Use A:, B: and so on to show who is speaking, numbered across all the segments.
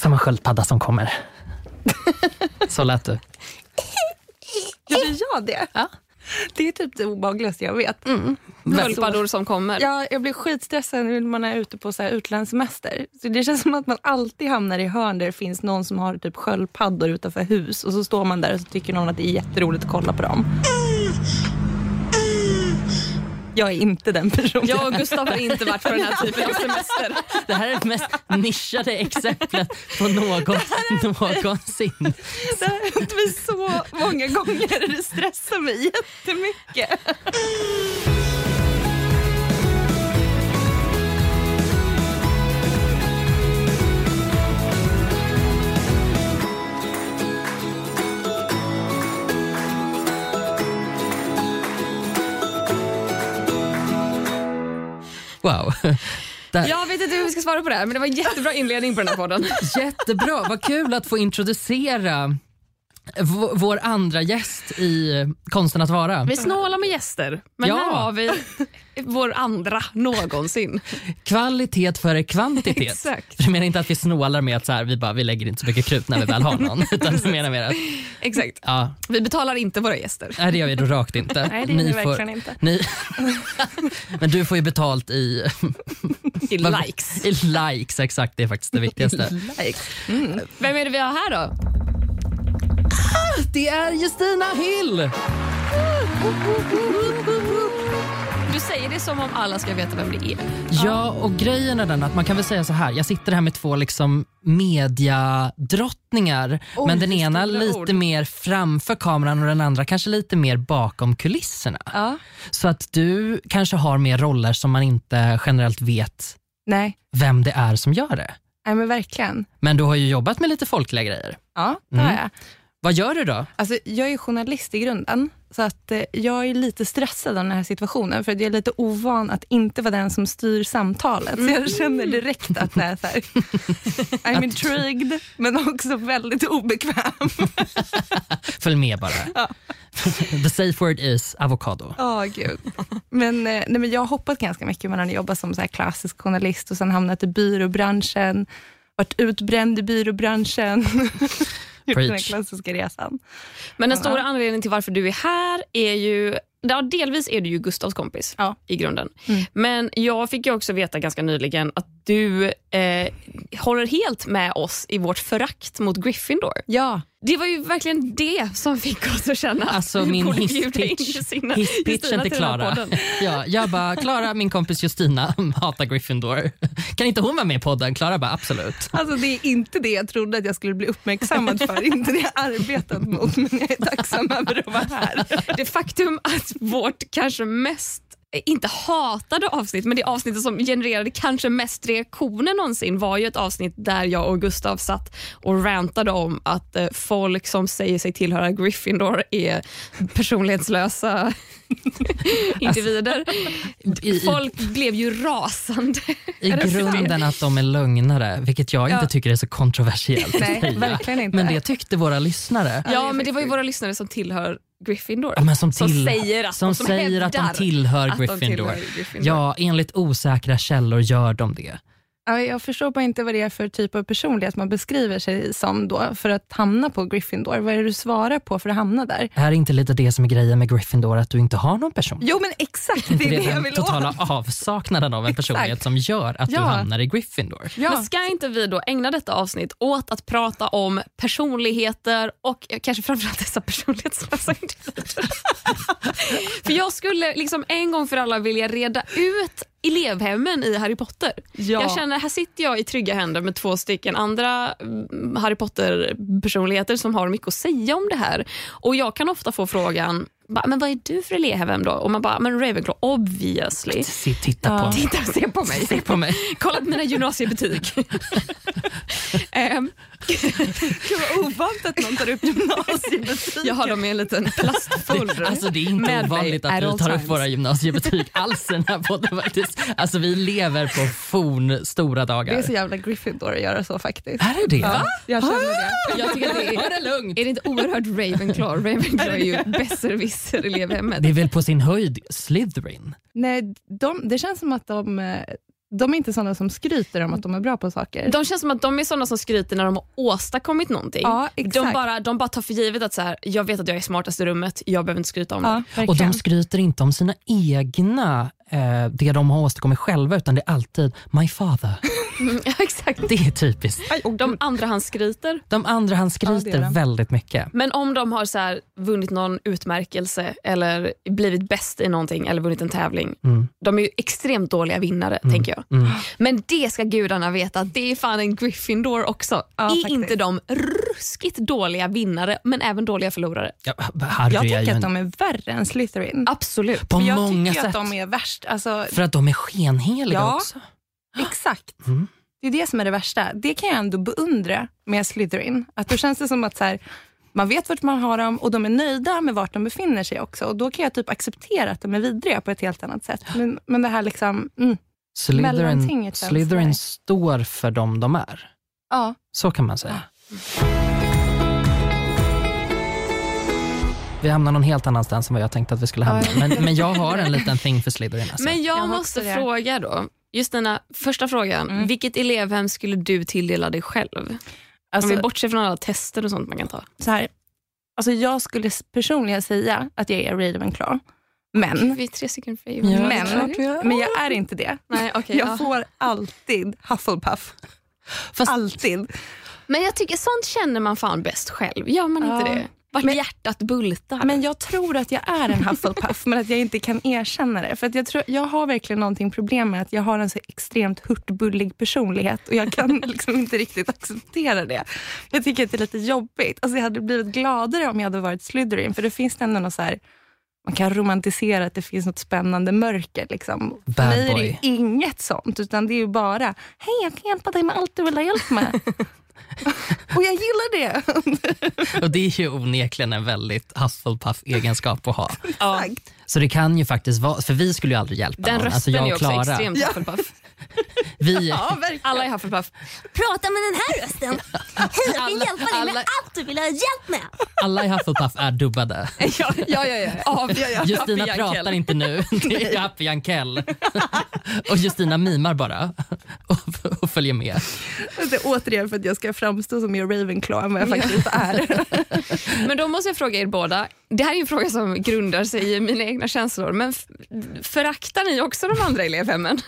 A: samma sköldpadda som kommer. Så lät du.
B: Gjorde jag det?
A: Ja.
B: Det är typ det obehagligaste jag vet.
C: Sköldpaddor som kommer.
B: Ja, jag blir skitstressad när man är ute på så här utlandssemester. Så det känns som att man alltid hamnar i hörn där det finns någon som har typ sköldpaddor utanför hus och så står man där och så tycker någon att det är jätteroligt att kolla på dem. Jag är inte den personen.
C: Jag och Gustav har inte varit på den här typen av semester.
A: Det här är det mest nischade exemplet på något någonsin.
B: Det har hänt mig så många gånger och det stressar mig jättemycket.
A: Wow. Där.
C: Jag vet inte hur vi ska svara på det här, men det var en jättebra inledning på den här podden.
A: Jättebra, vad kul att få introducera v- vår andra gäst i Konsten att vara.
C: Vi snålar med gäster, men
A: Ja.
C: här har vi vår andra någonsin.
A: Kvalitet före kvantitet.
C: Exakt.
A: För jag menar inte att vi snålar med att så här, vi, bara, vi lägger inte så mycket krut när vi väl har någon. Utan jag menar mer att
C: Exakt.
A: ja,
C: Vi betalar inte våra gäster.
A: nej, det gör vi då rakt inte.
B: Nej, det är ni verkligen inte.
A: Ni, men du får ju betalt i,
C: I likes.
A: i likes, exakt det är faktiskt det viktigaste.
C: Mm. Vem är det vi har här då?
A: Det är Justina Hill!
C: Du säger det som om alla ska veta vem det är.
A: Ja, och grejen är den att man kan väl säga så här, jag sitter här med två liksom mediadrottningar, men den ena
C: stora
A: lite
C: ord.
A: mer framför kameran och den andra kanske lite mer bakom kulisserna.
B: Ja.
A: Så att du kanske har mer roller som man inte generellt vet
B: Nej,
A: vem det är som gör det.
B: nej men verkligen.
A: Men du har ju jobbat med lite folkliga grejer.
B: Ja, det har
A: Mm.
B: jag.
A: Vad gör du då?
B: Alltså, jag är journalist i grunden, så att eh, jag är lite stressad av den här situationen, för att jag är lite ovan att inte vara den som styr samtalet. Så jag känner direkt att det är så här, I'm intrigued, men också väldigt obekväm.
A: Följ med bara. The safe word is avokado.
B: Oh, gud. Men, eh, nej, men jag har hoppat ganska mycket mellan att jobba som så här klassisk journalist och sen hamnat i byråbranschen, varit utbränd i byråbranschen. Gjort den här
A: Preach.
B: klassiska resan.
C: Men den stora anledningen till varför du är här är ju... Ja, delvis är du ju Gustavs kompis
B: Ja.
C: i grunden.
B: Mm.
C: Men jag fick ju också veta ganska nyligen att du eh, håller helt med oss i vårt förakt mot Gryffindor.
B: Ja,
C: Det var ju verkligen det som fick oss att känna
A: Alltså
C: att vi
A: min
C: borde bjuda in
A: hisspitch
C: Justina- Justina
A: hisspitchen till
C: den här
A: Klara.
C: podden.
A: Ja, jag bara, Klara, min kompis Justina hatar Gryffindor. Kan inte hon vara med i podden? Klara bara, absolut.
B: Alltså det är inte det jag trodde att jag skulle bli uppmärksammad för, inte det jag arbetat mot, men jag är tacksam över att vara här.
C: Det faktum att vårt kanske mest eh, inte hatade avsnitt, men det avsnittet som genererade kanske mest reaktioner någonsin var ju ett avsnitt där jag och Gustav satt och rantade om att eh, folk som säger sig tillhöra Gryffindor är personlighetslösa individer.
A: I, i,
C: Folk blev ju rasande.
A: I grunden att de är lögnare, vilket jag inte
C: Ja.
A: tycker är så kontroversiellt att
B: Nej,
A: säga.
B: verkligen inte.
A: Men det tyckte våra lyssnare.
C: Ja, men det var ju våra lyssnare som tillhör Gryffindor.
A: Ja, men som, till,
C: säger att,
A: som
C: som
A: säger att de
C: hävdar
A: tillhör
C: att de
A: Gryffindor.
C: tillhör Gryffindor.
A: Ja, enligt osäkra källor gör de det.
B: Ja, jag förstår bara inte vad det är för typ av personlighet man beskriver sig som då, för att hamna på Gryffindor. Vad är det du svarar på för att hamna där?
A: Är inte lite det som är grejen med Gryffindor, att du inte har någon person?
B: Jo men exakt, det är det,
A: Det är
B: jag
A: den
B: vill åt.
A: totala avsaknaden av en personlighet som gör att du
B: Ja.
A: hamnar i Gryffindor.
B: Ja.
C: Men ska inte vi då ägna detta avsnitt åt att prata om personligheter och eh, kanske framförallt dessa personlighetslösa individer? för jag skulle liksom en gång för alla vilja reda ut elevhemmen i Harry Potter.
B: Ja.
C: Jag känner, här sitter jag i trygga händer med två stycken andra mm, Harry Potter-personligheter som har mycket att säga om det här. Och jag kan ofta få frågan, "Va, men vad är du för elevhem då? Och man bara, men Ravenclaw, obviously.
A: Se, titta på mig.
C: Titta och se på mig.
A: Se på mig.
C: Kolla på mina gymnasiebetyg. Ehm,
B: Gud vad ovant att någon tar upp gymnasiebetyg.
C: jag har dem i en liten plastfolder.
A: Alltså det är inte
C: Med mig
A: ovanligt att
C: at
A: vi
C: all
A: tar upp
C: times.
A: våra gymnasiebetyg alls i den här podden faktiskt. Alltså vi lever på fornstora dagar.
B: Det är så jävla Gryffindor att göra så faktiskt.
A: Är det det?
B: Ja, jag känner det.
C: jag tycker att det är,
A: det lugnt.
C: är det inte oerhört Ravenclaw? Ravenclaw är ju besserwisser i elevhemmet.
A: Det är väl på sin höjd Slytherin?
B: Nej, de, det känns som att de eh, de är inte sådana som skryter om att de är bra på saker.
C: De känns som att de är sådana som skryter när de har åstadkommit någonting.
B: Ja, exakt.
C: de, bara, de bara tar för givet att så här, jag vet att jag är smartast i rummet, jag behöver inte skryta om det.
B: ja,
A: Och
B: verkligen.
A: de skryter inte om sina egna, eh, det de har åstadkommit själva, utan det är alltid “my father”.
C: Mm, ja, exakt.
A: Det är typiskt.
C: De andra han skryter.
A: De andra han
B: Ja, det
A: skryter
B: är det.
A: väldigt mycket.
C: Men om de har så här, vunnit någon utmärkelse eller blivit bäst i någonting eller vunnit en tävling.
A: Mm.
C: De är ju extremt dåliga vinnare, tänker jag.
A: Mm.
C: Men det ska gudarna veta, att det är fan en Gryffindor också.
B: Ja,
C: är
B: faktiskt.
C: inte de ruskigt dåliga vinnare, men även dåliga förlorare?
A: Ja, Harry
B: Jag
A: är ju
B: tycker att
A: en,
B: de är värre än Slytherin.
C: Absolut.
A: på
B: Men jag
A: många
B: tycker
A: sätt.
B: att de är värst. Alltså,
A: För att de är skenheliga
B: Ja.
A: också.
B: exakt.
A: Mm.
B: Det är det som är det värsta. Det kan jag ändå beundra med Slytherin. Att då känns det som att så här, man vet vart man har dem och de är nöjda med vart de befinner sig också. Och Då kan jag typ acceptera att de är vidriga på ett helt annat sätt. Men, men det här liksom, mm,
A: Slytherin,
B: Mellantinget känns
A: Slytherin
B: där.
A: står för dem de är.
B: ja.
A: Så kan man säga. Vi hamnar någon helt annanstans än vad jag tänkte att vi skulle hamna.
B: Ja,
A: Men, men jag har en liten thing för Slytherin. Alltså.
C: Men jag,
B: Jag har
C: måste
B: också det.
C: fråga då. Justina, första frågan.
B: Mm.
C: Vilket elevhem skulle du tilldela dig själv? Om
B: Alltså,
C: vi bortser från alla tester och sånt man kan ta.
B: så här, alltså jag skulle s- personligen säga att jag är Ravenclaw. Men,
C: Vi är tre stycken för
A: Ja, det är
B: men,
A: klart vi är.
B: men jag är inte det.
C: Nej, okay, ja.
B: Jag får alltid Hufflepuff.
A: Fast-
B: Alltid.
C: Men jag tycker sånt känner man fan bäst själv. Gör man
B: Ja.
C: inte det? Vart hjärtat bultar.
B: Men jag tror att jag är en Hufflepuff, men att jag inte kan erkänna det. För att jag, tror, jag har verkligen någonting problem med att jag har en så extremt hurtbullig personlighet och jag kan liksom inte riktigt acceptera det. Jag tycker att det är lite jobbigt. Alltså jag hade blivit gladare om jag hade varit Slytherin, för då finns det ändå något så här man kan romantisera att det finns något spännande mörker. Liksom. För
A: Bad
B: mig är det ju
A: boy.
B: inget sånt, utan det är ju bara, hej jag kan hjälpa dig med allt du vill ha hjälp med. och jag gillar det.
A: Och det är ju onekligen en väldigt Hufflepuff-egenskap att ha.
C: ja.
A: Så det kan ju faktiskt vara, för vi skulle ju aldrig hjälpa
C: Den
A: någon.
C: rösten
A: Alltså jag
C: är
A: och
C: också
A: Klara,
C: extremt Hufflepuff.
A: vi,
B: Ja, verkligen.
C: Alla är Hufflepuff.
D: Prata med den här rösten. Hej, jag vill
C: Alla-
D: hjälpa dig med
C: alla-
D: allt du vill ha hjälp med.
A: alla i Hufflepuff är dubbade.
C: ja, ja, ja, ja. Av
A: Justina
C: Bianca.
A: pratar inte nu, det är Happy Jankell. Och Justina mimar bara och, och följer med.
B: Alltså, återigen för att jag ska framstå som mer Ravenclaw än vad jag faktiskt är.
C: Men då måste jag fråga er båda. Det här är en fråga som grundar sig i mina egna känslor. Men f- föraktar ni också de andra elevhemmen?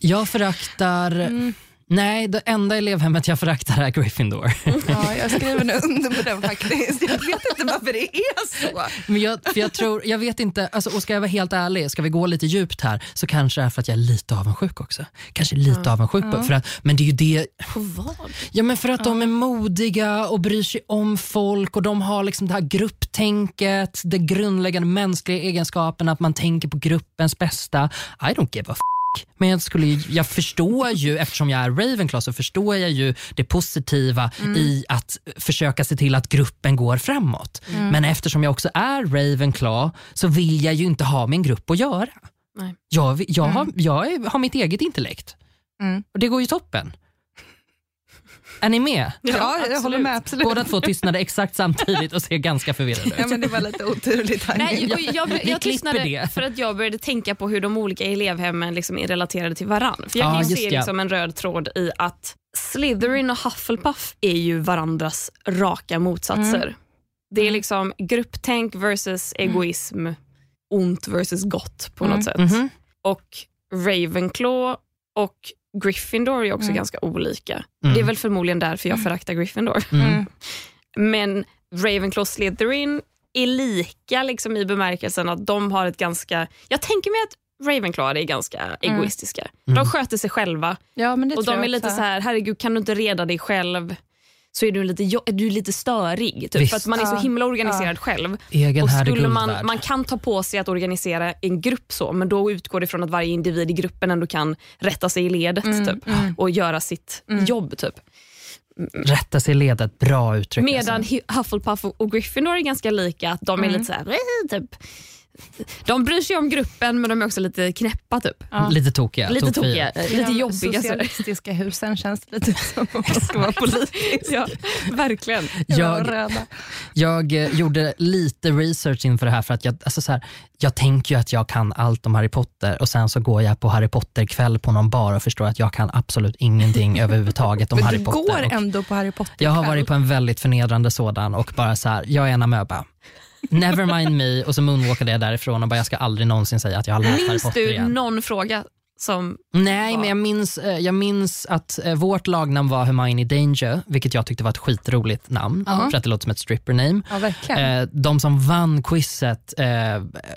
A: Jag föraktar...
C: Mm.
A: Nej, det enda elevhemmet jag föraktar är Gryffindor.
B: ja, jag skriver nu under på den faktiskt. Jag vet inte varför det är så.
A: Men jag, för jag tror, jag vet inte, alltså, och ska jag vara helt ärlig, ska vi gå lite djupt här så kanske det är för att jag är lite avundsjuk också. Kanske lite avundsjuk på, för att, men det är ju det
C: På vad?
A: Ja, men för att de är modiga och bryr sig om folk och de har liksom det här grupptänket, det grundläggande mänskliga egenskapen att man tänker på gruppens bästa. I don't give a f- men jag, skulle, ju- jag förstår ju, eftersom jag är Ravenclaw, så förstår jag ju det positiva
C: Mm.
A: i att försöka se till att gruppen går framåt.
C: Mm.
A: Men eftersom jag också är Ravenclaw så vill jag ju inte ha min grupp att göra.
C: Nej. Mm.
A: Jag, vill- jag, har, jag är- har mitt eget intellekt
B: Mm.
A: och det går ju toppen. Är ni med?
B: Ja, jag
C: absolut.
B: håller med. Absolut.
A: Båda två tystnade exakt samtidigt och ser ganska förvirrade
B: Ja,
A: ut.
B: men det var lite oturligt.
C: Nej,
B: Nej,
C: och jag, jag,
A: Vi
C: jag tystnade
A: klipper det.
C: för att jag började tänka på hur de olika elevhemmen liksom är relaterade till varann. För jag
A: Ja,
C: kan ju
A: just
C: se
A: det.
C: liksom en röd tråd i att Slytherin och Hufflepuff är ju varandras raka motsatser.
A: Mm.
C: Det är liksom grupptänk versus egoism, ont versus gott på
B: Mm.
C: något sätt.
A: Mhm.
C: Och Ravenclaw och Gryffindor är också
B: Mm.
C: ganska olika.
A: Mm.
C: Det är väl förmodligen därför jag föraktar Gryffindor.
A: Mm.
C: Men Ravenclaw och Slytherin är lika liksom, i bemärkelsen att de har ett ganska... Jag tänker mig att Ravenclaw är ganska egoistiska.
A: Mm.
C: De sköter sig själva
B: ja, men det
C: och
B: tror
C: de
B: jag
C: är lite
B: också.
C: så här, herregud kan du inte reda dig själv så är du lite, jo- är du lite störig. Typ,
A: Visst.
C: för att man är så
B: Ja.
C: himla organiserad själv.
A: Egen
C: Och
A: här är
C: skulle
A: guld
C: man,
A: värd.
C: man kan ta på sig att organisera en grupp så, men då utgår det från att varje individ i gruppen ändå kan rätta sig i ledet typ, och göra sitt jobb. typ.
A: Rätta sig i ledet, bra uttryck. alltså.
C: Medan Hu- Hufflepuff och och Gryffindor är ganska lika, att de är lite så här, "Eh", typ de bryr sig om gruppen men de är också lite knäppa typ.
B: Ja.
A: Lite tokiga.
C: Lite
A: tokfria.
C: tokiga, eh, lite
B: De
C: jobbiga. sådär.
B: Socialistiska husen känns det lite som om man ska vara politisk.
C: Ja, verkligen.
B: Jävla
A: Jag-
B: röda.
A: Jag eh, gjorde lite research inför det här för att jag, alltså så här, jag tänker ju att jag kan allt om Harry Potter och sen så går jag på Harry Potter-kväll på någon bar och förstår att jag kan absolut ingenting överhuvudtaget om
B: Men
A: Harry
B: du
A: Potter.
B: går
A: Och
B: ändå på Harry Potter
A: jag har
B: ikväll.
A: varit på en väldigt förnedrande sådan och bara så här, jag är en amöba. Never mind me och så moonwalkade jag därifrån och bara jag ska aldrig någonsin säga att jag har läst Harry
C: Minns
A: Potter
C: du
A: igen.
C: någon fråga som...
A: Nej,
C: Ja.
A: men jag minns, eh, jag minns att eh, vårt lagnamn var Hermione Danger, vilket jag tyckte var ett skitroligt namn
B: Ja.
A: för att det låter som ett strippername.
B: Ja, verkligen.
A: Eh, de som vann quizet, eh,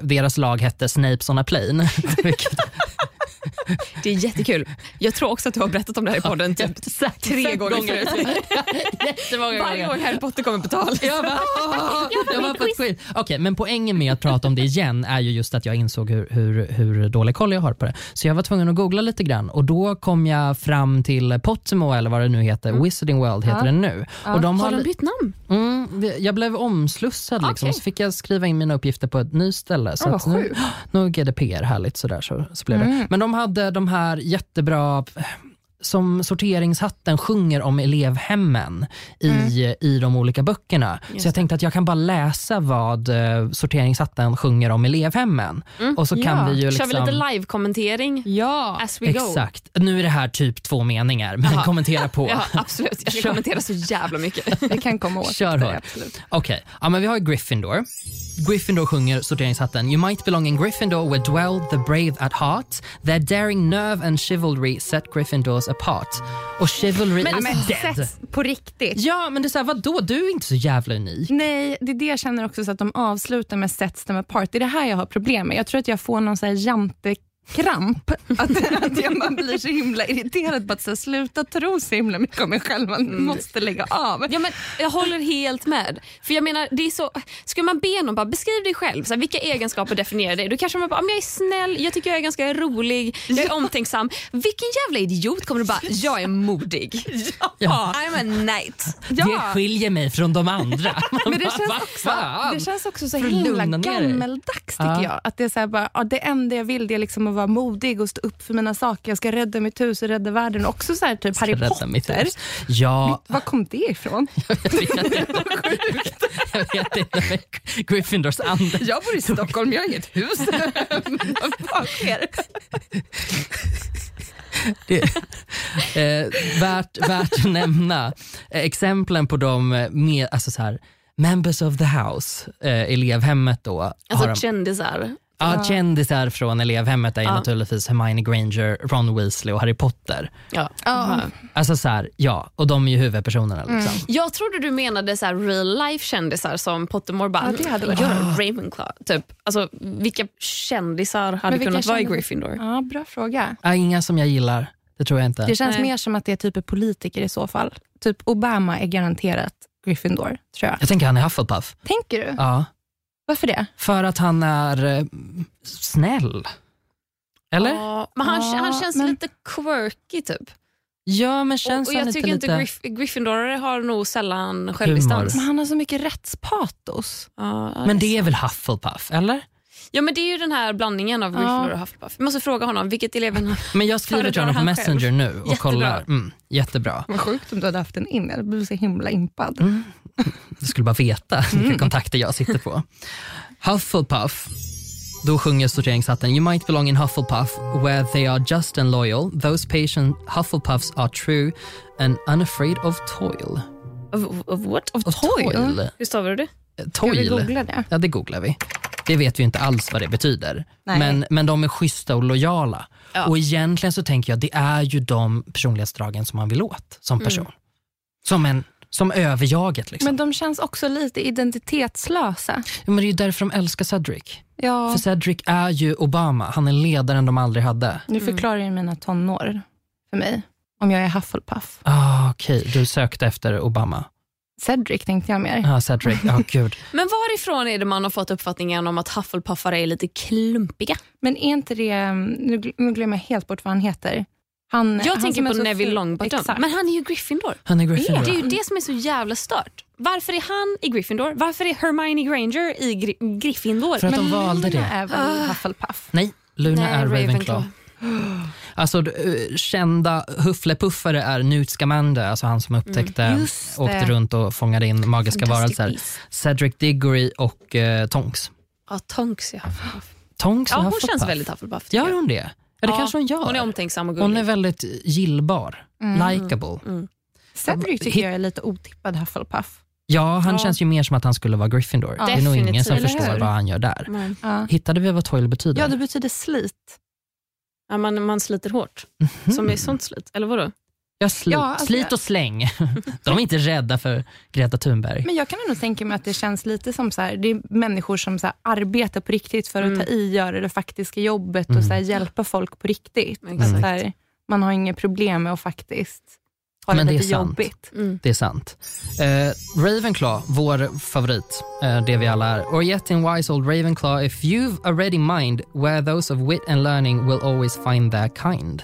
A: deras lag hette Snapes on a plane. Vilket-
C: Det är jättekul. Jag tror också att du har berättat om det här i podden typ tre gånger förut.
A: Jättemånga
C: Varje gång Harry Potter kommer på tal.
A: Jag bara, "Åh, jag var på ett quiz. Okej, men poängen med att prata om det igen är ju just att jag insåg hur, hur, hur dålig koll jag har på det. Så jag var tvungen att googla lite grann och då kom jag fram till Pottermore eller vad det nu heter, Wizarding World heter
B: Mm. Ja.
A: den nu. Och de
C: Har
A: har,
C: de bytt namn?
A: mm, det- jag blev omslussad liksom,
C: Okej. Ah,
A: så fick jag skriva in mina uppgifter på ett nytt ställe. Så
B: vad
A: att nu,
B: sjukt.
A: nu är GDPR härligt sådär så, så blev det.
B: Mm.
A: Men de hade de här jättebra som sorteringshatten sjunger om elevhemmen i, i de olika böckerna.
C: Mm. Just
A: så jag tänkte att jag kan bara läsa vad eh, sorteringshatten sjunger om elevhemmen. Och så kan
B: Ja.
A: vi ju liksom...
C: Mm. Kör vi lite live-kommentering
B: Ja.
C: as we go?
A: Exakt. Nu är det här typ två meningar, men
C: Jaha.
A: kommentera på.
C: Ja, absolut. Jag ska
A: Kör.
C: kommentera så jävla mycket.
B: Vi kan komma åt
A: Kör
B: det.
A: hårt.
B: absolut.
A: Okej, ja, men vi har ju Gryffindor. Gryffindor sjunger sorteringshatten. You might belong in Gryffindor where dwell the brave at heart. Their daring nerve and chivalry set Gryffindors apart. Och chivalry
C: Men-
A: is
C: men
A: dead.
B: alltså, Sätt på riktigt.
A: Ja, men det är såhär, vadå? Du är inte så jävla unik.
B: Nej, det är det jag känner också, så att de avslutar med sets them apart. Det är det här jag har problem med. Jag tror att jag får någon så här jantekramp. Att, att jag bara blir så himla irriterad på att så här, sluta tro så himla mycket om mig själv. Man måste lägga av.
C: Ja, men jag håller helt med. För jag menar, det är så, Ska man be någon bara beskriv dig själv, så här, vilka egenskaper definierar dig? Då kanske man bara, "Ah, men jag är snäll, jag tycker jag är ganska rolig, jag är omtänksam. Vilken jävla idiot kommer du bara, jag är modig.
A: Ja.
C: I'm a knight.
A: Det skiljer mig från de andra.
B: Men det
A: Vad
B: känns, också,
A: fan?
B: det känns också så
A: För att lugna
B: himla
A: ner dig.
B: gammeldags tycker
A: Ja.
B: jag. Att det är så här bara, ja, det enda jag vill det är liksom att vara modig och stå upp för mina saker. Jag ska rädda mitt hus och rädda världen. Också så här typ Harry
A: Rädda
B: Potter.
A: mitt hus. Ja,
B: Var kom det ifrån?
A: jag vet inte. men Gryffindors ande.
B: Jag bor i Stockholm, jag har inget hus. Vad sker?
A: Det, eh, värt, värt att nämna eh, exemplen på de eh, med, alltså så här, members of the house, eh, elevhemmet då. har de,
C: Alltså kändisar.
A: ja, kändisar från elevhemmet är ju
C: Ja.
A: naturligtvis Hermione Granger, Ron Weasley och Harry Potter.
C: Ja.
A: Alltså så här, ja, och de är ju huvudpersonerna.
C: Mm.
A: Liksom.
C: Jag trodde du menade så här real life kändisar som Pottermore bara,
B: Ja, det hade varit-
C: jag är Ravenclaw. Typ. Alltså, vilka kändisar hade
B: Men vilka
C: kunnat vara i
B: kändisar?
C: Gryffindor?
B: Ja, bra fråga.
A: Ja, inga som jag gillar, det tror jag inte.
B: Det känns
C: Nej.
B: mer som att det är typ politiker i så fall. Typ Obama är garanterat Gryffindor, tror jag.
A: Jag tänker han är Hufflepuff.
B: Tänker du?
C: Mm.
A: Ja,
B: Varför det?
A: för att han är eh, snäll. Eller? Ja,
C: Ja, men han,
B: Ja,
C: han känns
B: men-
C: lite quirky typ.
A: men känns
C: och, och
A: han
C: jag
A: inte
C: tycker inte
A: lite...
C: Gryff- Gryffindorare har nog sällan självdistans.
B: Men han har så mycket rättspatos.
C: Ja, ja,
A: Men
C: det...
A: det är väl Hufflepuff, eller?
C: Ja, men det är ju den här blandningen av
B: Ja.
C: Gryffindor och Hufflepuff. Vi måste fråga honom, vilket eleven har...
A: Men jag skriver till
C: Föredrar
A: honom på
C: han
A: Messenger nu och
C: Jättebra.
A: kollar. Mm, jättebra.
B: Vad sjukt om du hade haft den in. Jag blev så himla impad.
A: Du skulle bara veta vilka kontakter jag sitter på. Hufflepuff. Då sjunger sorteringshatten You might belong in Hufflepuff where they are just and loyal. Those patient Hufflepuffs are true and unafraid of toil.
C: Of, of what? Of
A: Of toil?
C: Hur stavar du det?
A: Eh,
B: Ska vi
A: Toil.
B: googla det?
A: Ja, det googlar vi. Det vet vi ju inte alls vad det betyder.
B: Nej.
A: Men, men de är schyssta och lojala.
C: Ja.
A: Och egentligen så tänker jag det är ju de personlighetsdragen som man vill åt som
C: Mm.
A: person. Som, en, som överjaget. Liksom.
B: Men de känns också lite identitetslösa.
A: Ja, men det är ju därför de älskar Cedric.
B: Ja.
A: För Cedric är ju Obama. Han är ledaren de aldrig hade.
B: Nu förklarar ju mina tonår för mig om jag är Hufflepuff.
A: Ah, Okej, du sökte efter Obama.
B: Cedric tänkte jag mer.
A: Ah, Cedric, ah, gud.
C: Men varifrån är det man har fått uppfattningen om att Hufflepuffare är lite klumpiga?
B: mm, Men är inte det, nu gl- nu glömmer jag helt bort vad han heter, Han,
C: Jag
B: han
C: tänker
B: som är
C: på
B: så
C: Neville
B: ful.
C: Longbottom,
B: Exakt.
C: men han är ju Gryffindor.
A: Han är Gryffindor.
C: Det är ju det som är så jävla stört. Varför är han i Gryffindor? Varför är Hermione Granger i Gri- Gryffindor?
A: För att de valde
B: Luna
A: det.
B: är
C: Ah.
B: väl Hufflepuff?
A: Nej, Luna
C: Nej,
A: är Ravenclaw.
C: Ravenclaw.
A: Alltså d- eh, kända hufflepuffare är Newt Scamander, alltså han som upptäckte,
C: Mm.
B: Just det.
A: åkte runt och fångade in magiska
C: Fantastic
A: varelser.
C: Beasts.
A: Cedric Diggory och eh, Tonks.
C: Ja, Tonks ja.
A: Tonks
C: Ja,
A: är
C: hon
A: Hufflepuff.
C: känns väldigt Hufflepuff. tycker
A: Gör
C: jag.
A: hon det? Ja, det
C: Ja,
A: kanske hon gör.
C: Hon är Mm. omtänksam och gullig.
A: Hon är väldigt gillbar, likeable.
B: Cedric tycker jag är lite otippad Hufflepuff.
A: Ja, han
B: Ja.
A: känns ju mer som att han skulle vara Gryffindor. det är nog ingen
C: Definitivt,
A: som
C: eller
A: förstår
C: hur?
A: vad han gör där.
C: Men-
B: Ja.
A: Hittade vi vad toil betyder?
B: ja, det betyder slit.
C: Ja, man, man sliter hårt.
A: Hmm.
C: Som är sånt slit. Eller vadå?
A: Jag sli-
B: Ja, alltså-
A: Mm. slit och släng. De är inte rädda för Greta Thunberg.
B: Men jag kan nog tänka mig att det känns lite som så här, det är människor som så här, arbetar på riktigt för att
C: Mm.
B: ta i, göra det faktiska jobbet och
A: Mm.
B: så här, hjälpa folk på riktigt.
C: Exakt.
B: Att Så här, man har inga problem med att faktiskt ha
A: Men
B: det
A: det är
B: lite
A: sant.
B: jobbigt.
C: Mm.
A: Det är sant. Eh, Ravenclaw, vår favorit, eh, det vi alla är. Or yet in wise old Ravenclaw, if you've a ready mind, where those of wit and learning will always find their kind.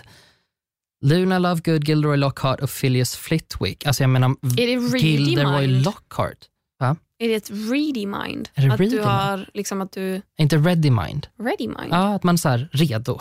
A: Luna Lovegood, Gilderoy Lockhart och Phileas Flitwick. Alltså jag menar,
C: Är det ready
A: Gilderoy
C: mind?
A: Lockhart.
C: Är det ett ready mind?
A: Är det
C: att
A: ready
C: du
A: mind?
C: har liksom att du...
A: Är Inte ready mind.
C: Ready mind?
A: Ja, att man är så här redo.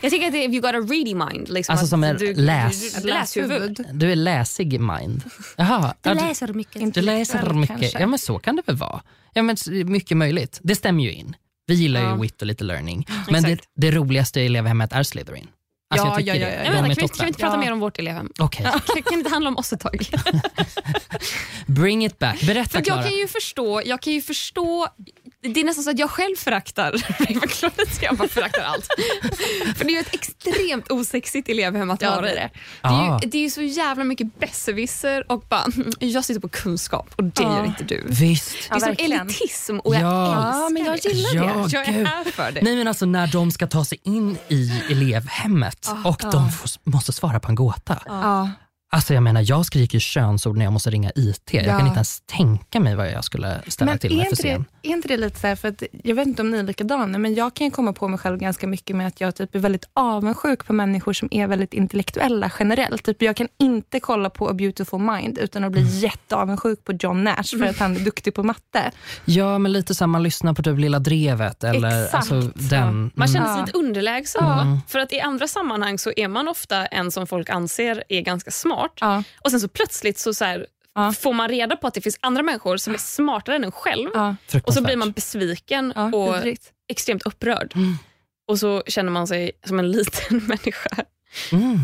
C: Jag tänker att det är if you got a ready mind. Liksom,
A: Alltså
C: att
A: som är
C: du,
A: läs-
C: Du, du, läshuvud.
A: Du är läsig mind. Jaha, ja, du,
D: läser mycket.
A: du läser
B: Intellektuell,
A: mycket.
B: kanske.
A: Ja men så kan det väl vara. Ja men s- mycket möjligt. Det stämmer ju in. Vi gillar
C: Ja.
A: ju wit och lite learning. Men det,
C: Exakt.
A: det roligaste i elevhemmet är Slytherin. Alltså
B: Ja,
A: jag tycker
B: ja, ja, ja.
A: det.
C: Ja,
A: De
C: vänta,
A: är
C: kan, vi, inte- kan vi
A: toppen.
C: inte prata
B: Ja.
C: mer om vårt elevhem?
A: Okej,
C: Kan det inte handla om oss ett tag?
A: bring it back.
C: För
A: Berätta
C: att
A: Klara.
C: jag kan ju förstå, jag kan ju förstå det är nästan så att jag själv föraktar Ravenclaw. lite, så Jag bara föraktar allt. För det är ju ett extremt osexigt elevhem att
B: Ja,
C: vara
B: det är
C: i.
B: det.
C: Det är,
A: Ah.
C: ju, det är ju så jävla mycket besserwisser och bara, "Mm, jag sitter på kunskap och det
B: Ja.
C: gör inte du.
A: Visst.
C: Det är
B: Ja,
C: sån
B: verkligen.
C: elitism och jag
A: Ja.
C: älskar
B: Ja, men jag
C: det.
B: gillar
A: Ja,
C: jag är
A: gud.
C: här för det.
A: Nej men alltså när de ska ta sig in i elevhemmet
C: Ah,
A: och de får, måste svara på en gåta.
B: Ja.
A: Alltså jag menar jag skriker ju könsord när jag måste ringa IT. Jag
B: Ja.
A: kan inte ens tänka mig vad jag skulle ställa
B: Men
A: till
B: är
A: med för
B: inte, det,
A: scen.
B: är inte det lite så här, för att jag vet inte om ni är likadana, men jag kan ju komma på mig själv ganska mycket med att jag typ är väldigt avundsjuk på människor som är väldigt intellektuella generellt. Typ jag kan inte kolla på A Beautiful Mind utan att bli
A: Mm.
B: jätteavundsjuk på John Nash för att han är duktig på matte.
A: Ja, men lite så här, man lyssnar på typ Lilla Drevet eller
B: Exakt.
A: alltså, den.
C: Man känner sig
B: Ja.
C: lite underlägsen då.
A: Mm.
C: För att i andra sammanhang så är man ofta en som folk anser är ganska smart.
B: Ja.
C: Och sen så plötsligt så, så här,
B: Ja.
C: får man reda på att det finns andra människor som är smartare än en själv.
B: Ja,
C: Och så
A: Fruktansvärt.
C: blir man besviken
B: ja,
C: och
B: vidrigt.
C: extremt upprörd. Och så känner man sig som en liten människa.
A: mm.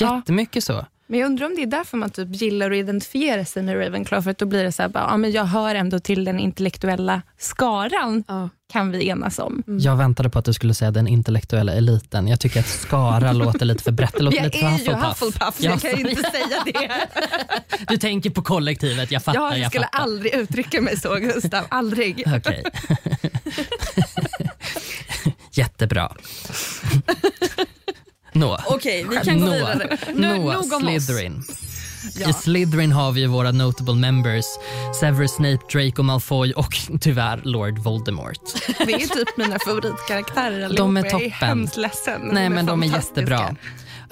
B: Ja.
A: Jättemycket så.
C: Mm.
B: Men jag undrar om det är därför man typ gillar att identifiera sig med Ravenclaw, för att då blir det så här, bara, ja, men jag hör ändå till den intellektuella skaran,
C: Ja.
B: kan vi enas om.
A: Jag väntade på att du skulle säga den intellektuella eliten. Jag tycker att Skara låter lite för brett. Det låter lite för Ja,
B: jag kan ju inte säga det.
A: Du tänker på kollektivet, jag fattar.
B: Ja, jag skulle
A: fattar.
B: aldrig uttrycka mig så, Gustav. Aldrig.
A: Okej. Jättebra. Nå.
B: Okej, vi
A: Nå,
C: Nu-
A: Nå,
C: nog om oss.
A: Slytherin. I Slytherin har vi ju våra notable members, Severus Snape, Draco Malfoy och tyvärr Lord Voldemort.
B: Det är typ mina favoritkaraktärer
A: De
B: allihopa.
A: är
B: Jag är
A: toppen.
B: hemskt ledsen.
A: Nej, men de är
B: fantastiska.
A: jättebra.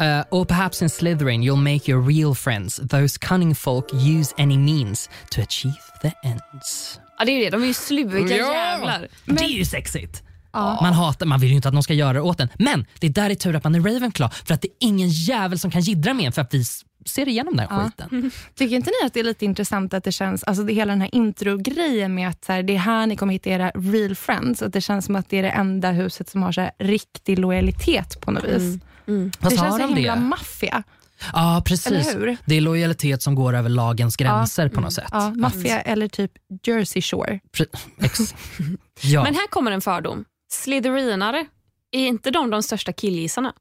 A: Uh, or perhaps in Slytherin you'll make your real friends, those cunning folk use any means to achieve the ends.
C: Ja, det är ju det. De är ju sluriga
A: Ja.
C: jävlar.
A: Det är ju sexigt! Man hatar, man vill ju inte att någon ska göra det åt en. Men det är där det är tur att man är Ravenclaw för att det är ingen jävel som kan jiddra med en för att vi s- ser igenom den här skiten.
B: Tycker inte ni att det är lite intressant att det känns, alltså det, hela den här introgrejen med att så här, det är här ni kommer hitta era real friends, att det känns som att det är det enda huset som har så här, riktig lojalitet på något vis.
C: Mm.
A: Vad
B: Det
A: sa
B: känns så
A: Mm. de
B: himla
A: det?
B: maffia.
A: Ja, precis.
B: Eller hur? Mm.
A: Det är lojalitet som går över lagens gränser på något sätt.
B: Ja, maffia eller typ Jersey Shore.
A: Pre- ex- ja.
C: Men här kommer en fördom. Slytherinare, är inte de de största killgissarna?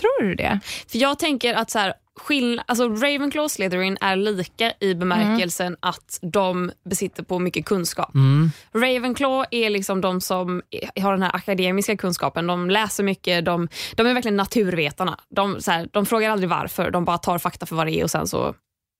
B: Tror du det?
C: För jag tänker att så här, skill- alltså Ravenclaw och Slytherin är lika i bemärkelsen att de besitter på mycket kunskap.
A: Mm.
C: Ravenclaw är liksom de som är- har den här akademiska kunskapen. De läser mycket, de, de är verkligen naturvetarna. De, så här, de frågar aldrig varför, de bara tar fakta för vad det är och sen så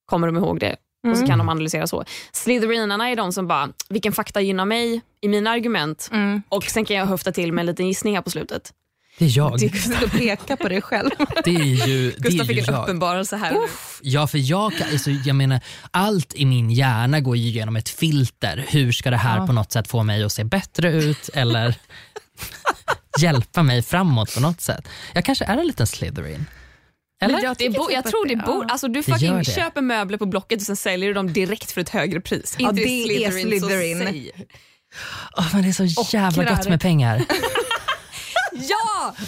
C: kommer de ihåg det. Och
B: Mm.
C: så kan de analysera så. Slytherinarna är de som bara, vilken fakta gynnar mig i mina argument?
B: Mm.
C: Och sen kan jag höfta till med en liten gissning här på slutet.
A: Det är jag.
B: Du sitter och pekar på dig själv.
A: Det är ju, det
C: Gustav
A: är ju
C: fick en
A: jag.
C: uppenbarelse här.
A: Ja, för jag, kan- alltså, jag menar, allt i min hjärna går ju igenom ett filter. Hur ska det här på något sätt få mig att se bättre ut eller hjälpa mig framåt på något sätt? Jag kanske är en liten Slytherin. Eller?
C: Men Jag, det
B: tycker
C: bo, jag
B: typ
C: tror
B: att
C: det
B: det-
C: bor.
B: ja.
C: Alltså, du
A: Det gör
C: fucking
A: det.
C: köper möbler på Blocket och sen säljer du dem direkt för ett högre pris.
B: Ja,
C: Inte
B: det är
C: Slytherin. så
B: Slytherin.
C: säg.
A: Åh, men det är så jävla gott med pengar.
C: Ja!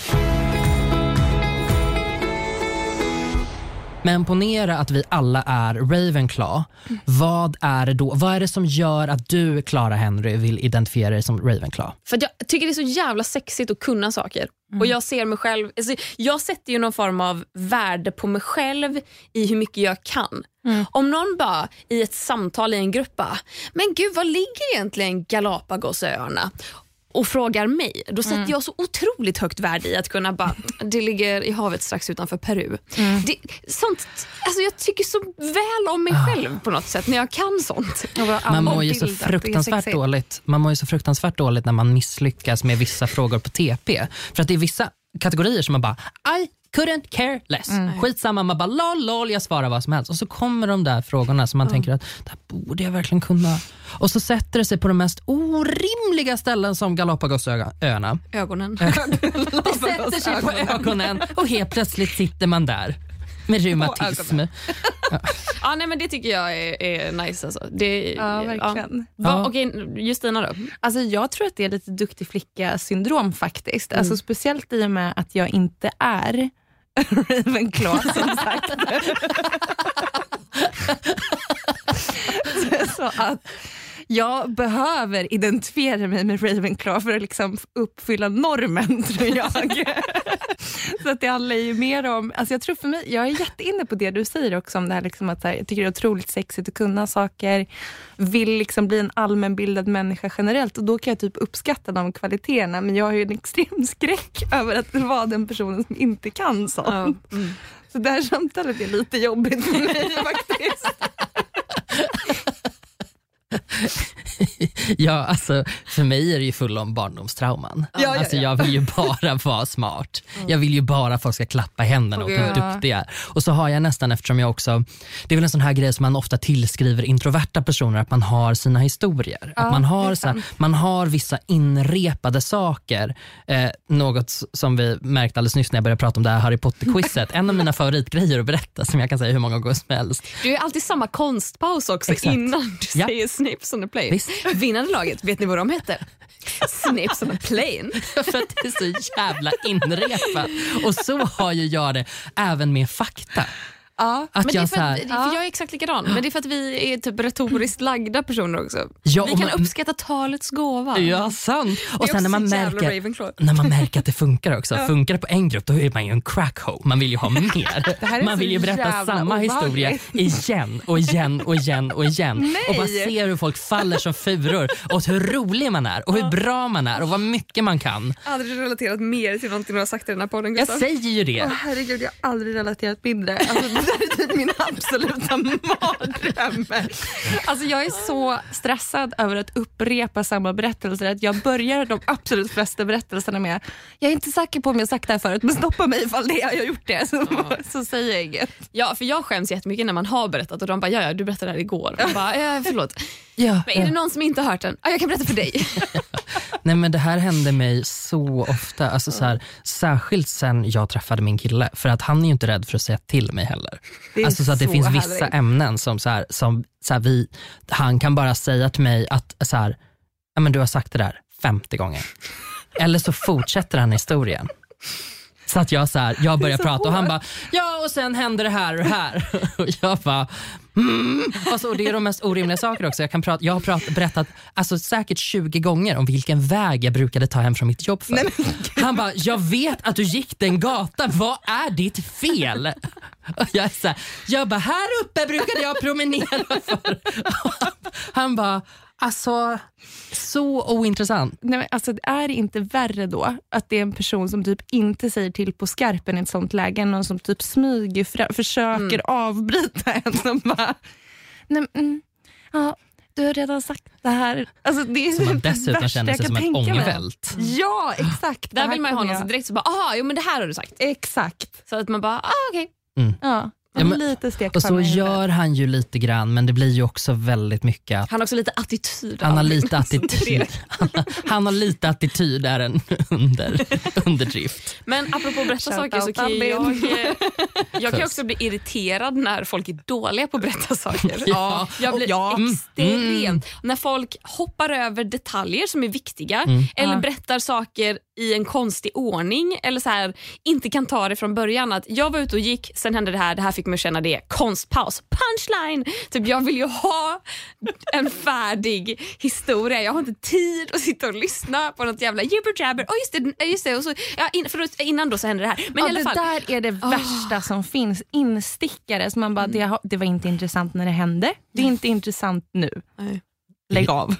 A: Men ponera att vi alla är Ravenclaw. Vad är det då? Vad är det som gör att du, Clara Henry, vill identifiera dig som Ravenclaw?
C: För att jag tycker det är så jävla sexigt att kunna saker. Och jag ser mig själv, alltså, jag sätter ju någon form av värde på mig själv i hur mycket jag kan. Om någon bara i ett samtal i en grupp bara, men gud vad ligger egentligen Galapagosöarna? och frågar mig, då sätter jag så otroligt högt värde i att kunna bara, det ligger i havet strax utanför Peru. Det, sånt, alltså jag tycker så väl om mig själv på något sätt när jag kan sånt.
A: Man
B: Och
A: mår ju så
B: bildat, det är
A: fruktansvärt
B: sexigt.
A: dåligt Man mår ju så fruktansvärt dåligt när man misslyckas med vissa frågor på TP. För att det är vissa kategorier som man bara I couldn't care less.
B: Mm.
A: Skitsamma, man bara lol, lol, jag svarar vad som helst. Och så kommer de där frågorna som man
B: Mm.
A: tänker att det här borde jag verkligen kunna. Och så sätter det sig på de mest orimliga ställen som Galapagosöarna.
C: Ögonen.
A: Det sätter sig på ögonen och helt plötsligt sitter man där med reumatism.
C: Ja, nej, men det tycker jag är, är nice. Alltså. Det,
B: Ja, verkligen.
C: Va,
A: Ja.
C: Okej, Justina då?
B: Alltså jag tror att det är lite duktig flicka-syndrom faktiskt. Alltså speciellt i och med att jag inte är Ravenclaw som sagt. Så att jag behöver identifiera mig med Ravenclaw för att liksom uppfylla normen tror jag. så att det handlar ju mer om, alltså jag tror för mig, jag är jätteinne på det du säger också om det här liksom att så här, jag tycker det är otroligt sexigt att kunna saker, vill liksom bli en allmänbildad människa generellt och då kan jag typ uppskatta de kvaliteterna men jag har ju en extrem skräck över att vara den personen som inte kan sånt. Så det här samtalet är lite jobbigt för mig faktiskt.
A: Ja, alltså, för mig är det ju full om barndomstrauman.
B: Ja, ja,
A: alltså,
B: ja. Mm.
A: jag vill ju bara vara smart. Jag vill ju bara att folk ska klappa i händerna åt
C: Åh,
A: hur
C: gud.
A: duktig jag är. Och så har jag nästan, eftersom jag också, det är väl en sån här grej som man ofta tillskriver introverta personer, att man har sina historier. att man, har så här, man har vissa inrepade saker. Eh, något s- som vi märkte alldeles nyss när jag började prata om det här Harry Potter-quizet. en av mina favoritgrejer att berätta som jag kan säga hur många gånger som helst.
C: Du är alltid samma konstpaus också
A: Exakt.
C: innan du
A: Ja.
C: säger Snipes on a plane.
A: Visst.
C: Vinnande laget, vet ni vad de heter? Snipes on a plane.
A: för att det är så jävla inrepat. Och så har ju jag det även med fakta.
B: Ja.
A: Att
C: Men det är
A: jag
C: för,
A: så här,
C: att, för jag är exakt likadan, men det är för att vi är typ retoriskt lagda personer också.
A: Ja,
C: vi
A: och
C: kan
A: man-
C: uppskatta talets gåva.
A: ja sant. Och
C: också
A: sen när man,
C: så jävla
A: märker,
C: Ravenclaw.
A: när man märker att det funkar också. Funkar det på en grupp då är man ju en crackhole. Man vill ju ha
B: här
A: mer.
B: är
A: Man
B: så
A: vill ju berätta
B: jävla
A: samma historia igen och igen och igen och igen. Och bara se hur folk faller som furor och hur rolig man är och hur bra man är och vad mycket man kan.
C: Aldrig relaterat mer till någonting du har sagt i den här podden
A: Jag säger ju det.
B: Herregud, jag har aldrig relaterat mindre. Alltså, det där är typ min absoluta mardröm. Alltså, jag är så stressad över att upprepa samma berättelser att jag börjar de absolut flesta berättelserna med jag är inte säker på om jag sagt det här förut, men stoppa mig ifall det, jag har gjort det. Så, så säger jag inget.
C: Ja, för jag skäms jättemycket när man har berättat och de bara, ja, ja du berättade det här igår. Jag bara, eh, förlåt.
A: Ja,
C: Men är det någon som inte har hört den? Ja, jag kan berätta för dig.
A: Nej men Det här hände mig så ofta. Alltså, så här, särskilt sen jag träffade min kille. För att Han är ju inte rädd för att säga till mig heller.
B: Det är
A: Alltså, så att det
B: så
A: finns
B: härligt.
A: vissa ämnen som, så här, som så här, vi, han kan bara säga till mig att så här, "Ja, men du har sagt det där 50 gånger. Eller så fortsätter han historien. Så att jag, så här, jag börjar
B: så
A: prata och han
B: hårt.
A: bara, ja och sen hände det här och det här. Och jag bara, mm. alltså, och det är de mest orimliga saker också. Jag, kan prata, jag har prat, berättat alltså, säkert 20 gånger om vilken väg jag brukade ta hem från mitt jobb för. han bara, jag vet att du gick den gatan, vad är ditt fel? Och jag, är så här, jag bara, här uppe brukade jag promenera för. Han bara, alltså så ointressant.
B: Nej, men alltså, är det inte värre då att det är en person som typ inte säger till på skarpen i ett sånt läge än någon som typ smyger fram, försöker avbryta en som bara... Nej, men, mm, ja, du har redan sagt det här. Alltså, det är
A: Som man
B: det
A: dessutom
B: värsta
A: känner
B: jag
A: sig som
B: kan
A: ett
B: tänka mig.
A: ångvält.
B: Ja, exakt. Det
C: Där
B: här
C: vill man ju ha
B: kommer
C: någon
B: jag-
C: som direkt så bara, aha, jo men det här har du sagt.
B: Exakt.
C: Så att man bara, ah, okej.
B: Ja.
A: Ja, men-
B: lite stek
A: Och
B: för
A: så
B: mig.
A: gör han ju lite grann, men det blir ju också väldigt mycket att
C: Han har också lite attityd.
A: han har
C: av-
A: lite
C: det är
A: attityd.
C: det.
A: Han, har- han har lite attityd är en under, underdrift.
C: Men apropå att berätta
B: Shout
C: saker så
B: out
C: kan ju jag,
B: Albin.
C: jag kan ju också bli irriterad när folk är dåliga på att berätta saker.
A: Ja.
C: Jag blir
B: Ja. Mm.
C: extremt... När folk hoppar över detaljer som är viktiga eller
B: Mm. Ja.
C: berättar saker i en konstig ordning eller så här, inte kan ta det från början. Att jag var ute och gick, sen hände det här, det här fick mig att känna det. Konstpaus, punchline! Typ, jag vill ju ha en färdig historia. Jag har inte tid att sitta och lyssna på något jävla jibber jabber. Oh, just det, just det. Och så, ja, in, förlåt, innan då så hände det här. Men
B: Ja,
C: i alla
B: det
C: fall,
B: där är det värsta som finns. Instickare som man bara, det, har- det var inte intressant när det hände. Det är inte intressant nu.
C: Nej.
B: Lägg av.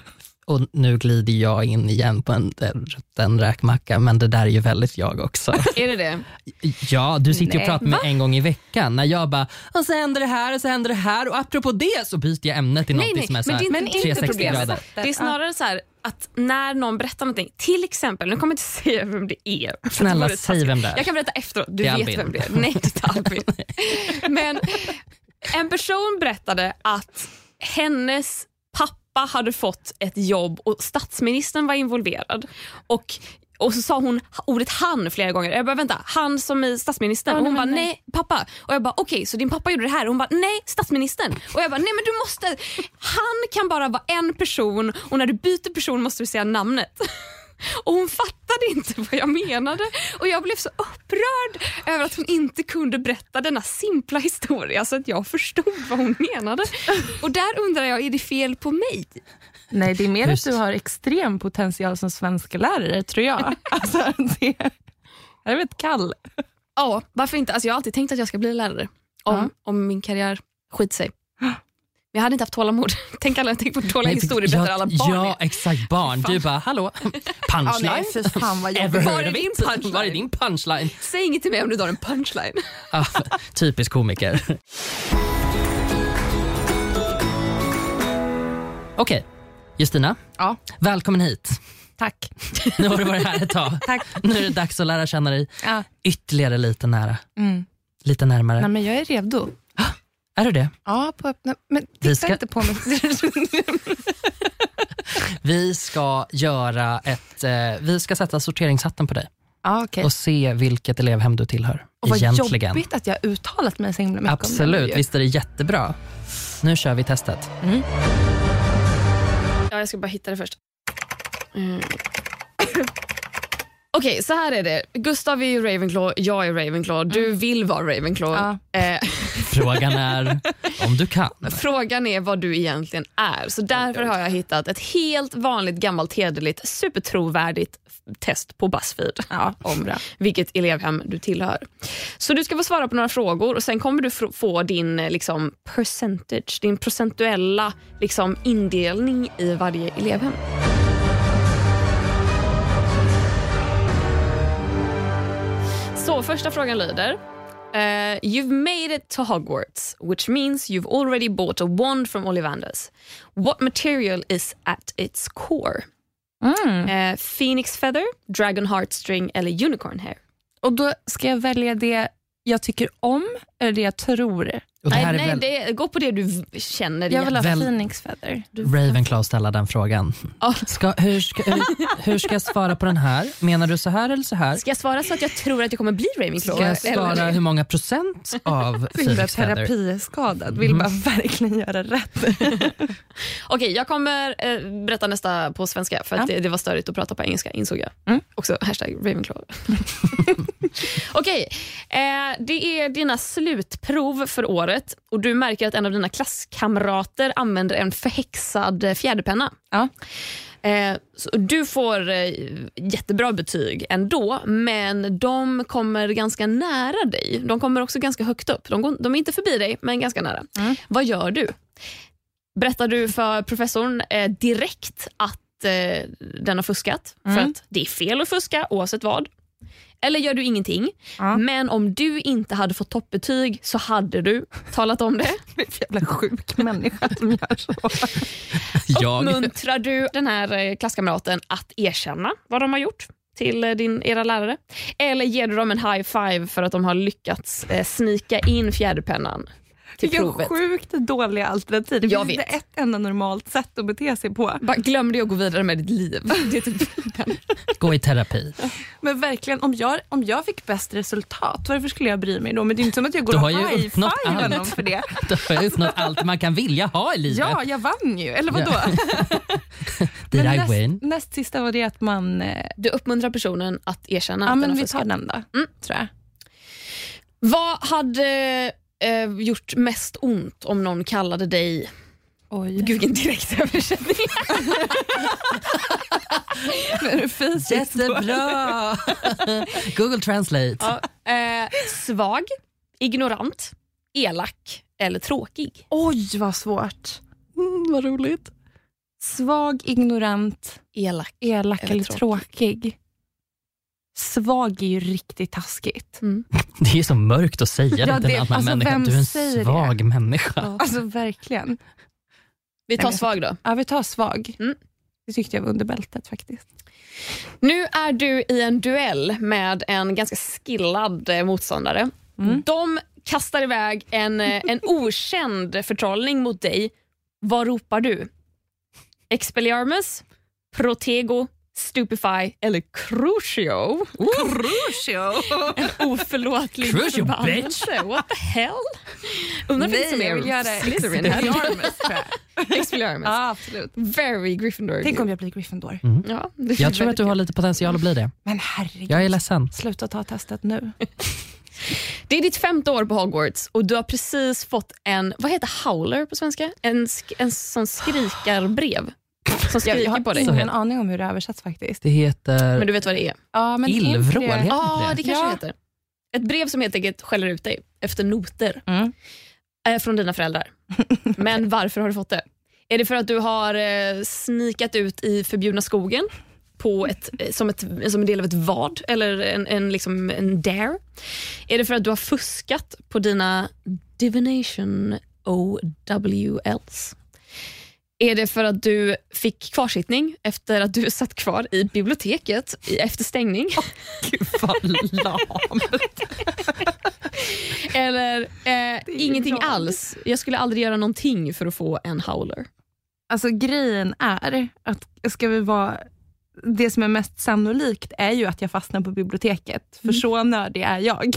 A: Och nu glider jag in igen på en rutten räkmacka, men det där är ju väldigt jag också.
C: är det det?
A: Ja, du sitter ju och
B: Nej.
A: pratar med mig en gång i veckan när jag bara, och så händer det här och så händer det här och apropå det så byter jag ämnet till någonting
C: nej,
A: som är så
C: men
A: här,
C: det är inte-
B: Men inte
A: 360
B: problemet.
A: grader.
C: Det är snarare så här att när någon berättar någonting, till exempel, nu kommer jag inte säga vem det är. för att det
A: Snälla
C: vore
A: säg
C: taskigt.
A: vem det är.
C: Jag kan berätta efteråt,
A: Det
C: du
A: är
C: vet
A: Albin.
C: vem det är. Nej, det är inte Albin. Men en person berättade att hennes pappa hade fått ett jobb och statsministern var involverad. Och och så sa hon ordet han flera gånger. Jag bara vänta, han som är statsministern.
B: Ja,
C: och hon
B: nej,
C: bara
B: men
C: nej, pappa. Och jag bara okej, så din pappa gjorde det här? Och hon bara nej, statsministern. Och jag bara nej men du måste, han kan bara vara en person och när du byter person måste du säga namnet. Och hon fattade inte vad jag menade och jag blev så upprörd över att hon inte kunde berätta denna simpla historia så att jag förstod vad hon menade. Och där undrar jag, är det fel på mig?
B: Nej, det är mer
A: Just.
B: att du har extrem potential som svenska lärare tror jag. Alltså, det, jag vet kall.
C: Ja, varför inte? Alltså jag har alltid tänkt att jag ska bli lärare om, om min karriär skiter sig. Men jag hade inte haft tålamod. Tänk alla, tänk på dåliga
A: Nej, för-
C: historier berättar
A: ja,
C: alla barn.
A: Ja, exakt. Barn. Du bara, hallå, punchline.
B: för fan vad
A: Ever
C: Var
A: heard
C: är
A: of
C: din
A: it?
C: punchline?
A: Var är din punchline?
C: Säg inget till mig om du drar en punchline.
A: Ah, typisk komiker. Okej, Justina.
B: Ja.
A: Välkommen hit.
B: Tack.
A: Nu har du varit här ett tag.
B: Tack.
A: Nu är det dags att lära känna dig
B: Ja.
A: ytterligare lite nära.
B: Mm.
A: Lite närmare.
B: Nej, men jag är redo.
A: Är du det?
B: Ja, på öppna... Men
A: Vi
B: titta
A: ska-
B: inte på mig.
A: Vi ska göra ett... Eh, vi ska sätta sorteringshatten på dig
B: ja, okej.
A: och se vilket elevhem du tillhör.
B: Och vad
A: egentligen.
B: jobbigt att jag uttalat mig så himla mycket om
A: Absolut,
B: det.
A: visst är det jättebra. Nu kör vi testet.
C: Ja, jag ska bara hitta det först. Mm. Okej, så här är det. Gustav är ju Ravenclaw, jag är Ravenclaw. Du vill vara Ravenclaw. Eh,
A: Frågan är om du kan.
C: frågan är vad du egentligen är. Så därför har jag hittat ett helt vanligt, gammalt, hederligt, supertrovärdigt f- test på Buzzfeed
B: Ja, om bra.
C: vilket elevhem du tillhör. Så du ska få svara på några frågor och sen kommer du fr- få din eh, liksom, percentage, din procentuella liksom, indelning i varje elevhem. Så första frågan lyder. eh, you've made it to Hogwarts, which means you've already bought a wand from Ollivanders. What material is at its core?
B: Mm.
C: Eh, Phoenix feather, dragon heartstring eller unicorn hair?
B: Och då ska jag välja det jag tycker om eller det jag tror.
A: Och det
C: Nej,
A: här
C: nej
A: är väl
C: det, gå på det du v- känner
B: Jag vill
C: igen.
B: ha
A: Väl-
B: Phoenix Feather.
A: Ravenclaw ställa den frågan.
C: Ja.
A: Ska, hur, ska, hur, hur ska jag svara på den här? Menar du så här eller så här?
C: Ska jag svara så att jag tror att jag kommer bli Ravenclaw?
A: Ska jag
C: Eller-
A: svara hur många procent av
B: Så himla
A: Phoenix Feather? Mhm.
B: terapiskadad, vill bara verkligen göra rätt.
C: Okej, jag kommer eh, berätta nästa på svenska för att
B: Ja.
C: det, det var störigt att prata på engelska insåg jag.
B: Mm.
C: Också hashtag Ravenclaw. Okej, eh, det är dina slutprov för året och du märker att en av dina klasskamrater använder en förhäxad eh, fjäderpenna.
B: Ja.
C: Eh, så du får eh, jättebra betyg ändå, men de kommer ganska nära dig. De kommer också ganska högt upp. De, går, de är inte förbi dig, men ganska nära.
B: Mm.
C: Vad gör du? Berättar du för professorn eh, direkt att eh, den har fuskat? För
B: Mm.
C: att det är fel att fuska oavsett vad. Eller gör du ingenting.
B: Ja.
C: Men om du inte hade fått toppbetyg så hade du talat om det.
B: Jävla sjuk människa som gör så.
A: Jag,
C: Uppmuntrar du den här eh, klasskamraten att erkänna vad de har gjort till eh, din, era lärare? Eller ger du dem en high five för att de har lyckats eh, snika in fjäderpennan till
B: Vilka
C: provet?
B: sjukt dåliga alternativ. Det
C: Jag
B: finns inte
C: vet.
B: ett enda normalt sätt att bete sig på.
C: Bara glöm det och gå vidare med ditt liv. Det är typ den.
A: gå i terapi.
B: Men verkligen, om jag, om jag fick bäst resultat, varför skulle jag bry mig då? Men det är inte som att jag går
A: Du
B: och
A: har ju uppnått
B: high-fivar
A: allt.
B: någon för det.
A: Då har jag uppnått allt man kan vilja ha i livet.
B: Ja, jag vann ju. Eller vadå?
A: Did I
B: näst,
A: win?
B: näst sista var det att man... eh,
C: Du uppmuntrar personen att erkänna
B: Ja,
C: att den
B: men
C: har
B: vi
C: fuskat.
B: tar den då, tror jag.
C: Vad hade eh, gjort mest ont om någon kallade dig...
B: Oj.
C: Gud, vilken direkt översättning.
B: är det fysiskt då?
A: Jättebra! Google translate.
C: Eh, svag, ignorant, elak eller tråkig.
B: Oj, vad svårt. Mm, vad roligt. Svag, ignorant,
C: Elak.
B: elak
C: Eller
B: eller, tråkig. Svag är ju riktigt taskigt.
A: Det är så mörkt att säga
B: Ja,
A: det till
B: det-
A: en annan
B: alltså,
A: människa.
B: vem
A: Du är
B: säger
A: en
B: det?
A: svag människa.
B: Alltså verkligen.
C: Vi tar
B: Nej, men-
C: svag då.
B: Ja, vi tar svag.
C: Mm.
B: Det tyckte jag var under bältet faktiskt.
C: Nu är du i en duell med en ganska skillad eh, motståndare.
A: Mm.
C: De kastar iväg en, eh, en okänd förtrollning mot dig. Vad ropar du? Expelliarmus, Protego, Stupefy eller Crucio? Oförlåtlig
A: Crucio,
C: förbannelse. What the hell? Undrar om det finns
B: jag vill
C: mer
B: göra
C: Slytherin här.
B: Expelliarmus, tror jag.
C: Expelliarmus.
B: Ja, absolut.
C: Very Gryffindor.
B: Tänk om jag blir Gryffindor.
C: ja, det är
A: Jag tror att du
C: väldigt-
A: har lite potential att bli det.
B: Men herregud.
A: Jag är ledsen.
B: Sluta ta testet nu.
C: Det är ditt femte år på Hogwarts och du har precis fått en, vad heter howler på svenska? En, sk- en sån skrikarbrev som skriker på dig.
A: ingen-
B: Ingen aning om hur det översätts faktiskt.
A: Det heter
C: Men du vet vad det är?
B: Ja, men inte
A: illvrål.
B: det-
A: heter
C: Ja,
A: det?
C: det kanske
B: Ja.
C: det heter. Ett brev som helt enkelt skäller ut dig efter noter
B: Mm.
C: eh, från dina föräldrar. Men varför har du fått det? Är det för att du har eh, snikat ut i förbjudna skogen på ett, eh, som, ett, som en del av ett vad eller en, en, liksom en dare? Är det för att du har fuskat på dina divination OWLs? Är det för att du fick kvarsittning efter att du satt kvar i biblioteket i- efter stängning? Eller eh, ingenting
B: bra.
C: alls. Jag skulle aldrig göra någonting för att få en howler.
B: Alltså grejen är att ska vi vara det som är mest sannolikt är ju att jag fastnar på biblioteket,
C: Mm.
B: för så nördig är jag.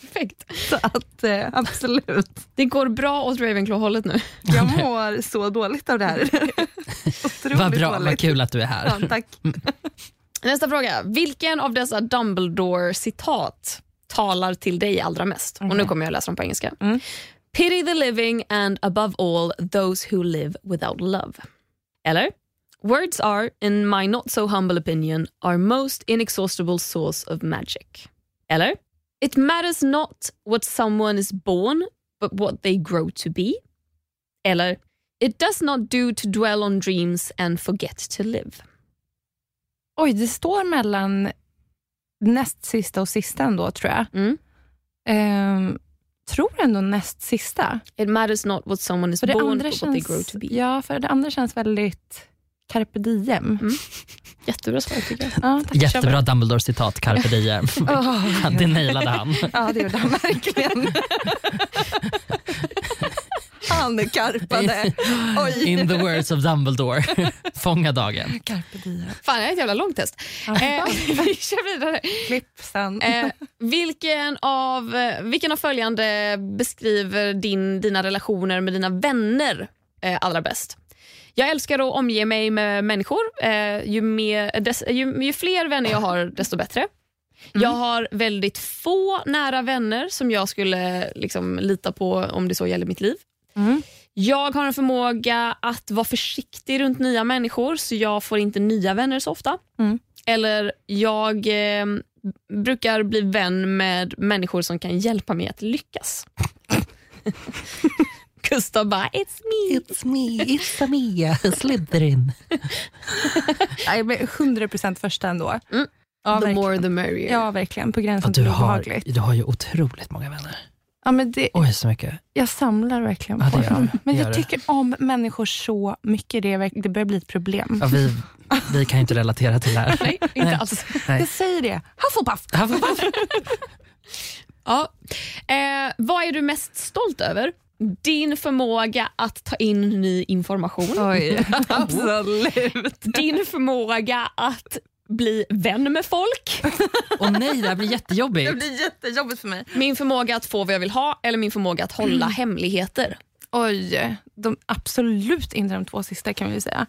C: Perfekt.
B: Så att eh, absolut.
C: Det går bra åt Ravenclaw-hållet nu.
B: Jag mår så dåligt av det här. Otroligt
A: Vad bra, vad
B: dåligt.
A: kul att du är här.
B: Ja, tack.
C: Nästa fråga. Vilken av dessa Dumbledore-citat talar till dig allra mest? Och Nu kommer jag läsa dem på engelska.
B: Mm.
C: Pity the living and above all those who live without love. Eller? Words are, in my not so humble opinion, our most inexhaustible source of magic. Eller? It matters not what someone is born, but what they grow to be. Eller? It does not do to dwell on dreams and forget to live.
B: Oj, det står mellan näst sista och sista ändå, tror jag.
C: Mm.
B: Ehm, tror ändå näst sista.
C: It matters not what someone is
B: För det,
C: born
B: andra
C: but what they grow
B: känns,
C: to be.
B: ja, för det andra känns väldigt carpe diem.
C: Jättebra svar tycker jag.
B: Ja, tack,
A: Jättebra Dumbledore-citat, carpe diem.
B: Oh,
A: Det nailade han.
B: ja, det gjorde han verkligen. han karpade. Oj.
A: In the words of Dumbledore. Fånga dagen.
B: Carpe diem.
C: Fan, det är ett jävla långt test. Eh, vi kör vidare.
B: Klipp sen.
C: Eh, vilken, av, eh, vilken av följande beskriver din, dina relationer med dina vänner eh, allra bäst? Jag älskar att omge mig med människor. Eh, ju, mer, dess, ju, ju fler vänner jag har, desto bättre.
B: Mm.
C: Jag har väldigt få nära vänner som jag skulle liksom, lita på om det så gäller mitt liv.
B: Mm.
C: Jag har en förmåga att vara försiktig runt nya människor så jag får inte nya vänner så ofta.
B: Mm.
C: Eller jag eh, brukar bli vän med människor som kan hjälpa mig att lyckas. Gustav bara, it's me.
A: It's me, it's a me, Slytherin.
B: Nej, men 100% första ändå.
C: Mm.
B: Ja,
C: the
B: verkligen.
C: more the merrier.
B: Ja, verkligen. På
A: Ja,
B: gränsen
A: du,
B: till
A: har,
B: obehagligt.
A: du har ju otroligt många vänner.
B: Ja, men det,
A: Oj, så mycket.
B: jag samlar verkligen
A: Ja,
B: på
A: det gör
B: dem.
A: du.
B: Men
A: Det
B: jag
A: gör du.
B: tycker om människor så mycket. Det, är verk- det börjar bli ett problem.
A: Ja, vi, vi kan ju inte relatera till det här.
C: Nej, inte alls.
B: Jag säger det. Hufflepuff!
A: Han får bara-
C: Ja. Eh, vad är du mest stolt över? Din förmåga att ta in ny information.
B: Oj, absolut.
C: Din förmåga att bli vän med folk.
A: Åh nej, det här blir
B: Det
A: jättejobbigt.
B: blir jättejobbigt för mig.
C: Min förmåga att få vad jag vill ha eller min förmåga att
B: Mm.
C: hålla hemligheter.
B: Oj, de, absolut inte de två sista kan vi ju säga.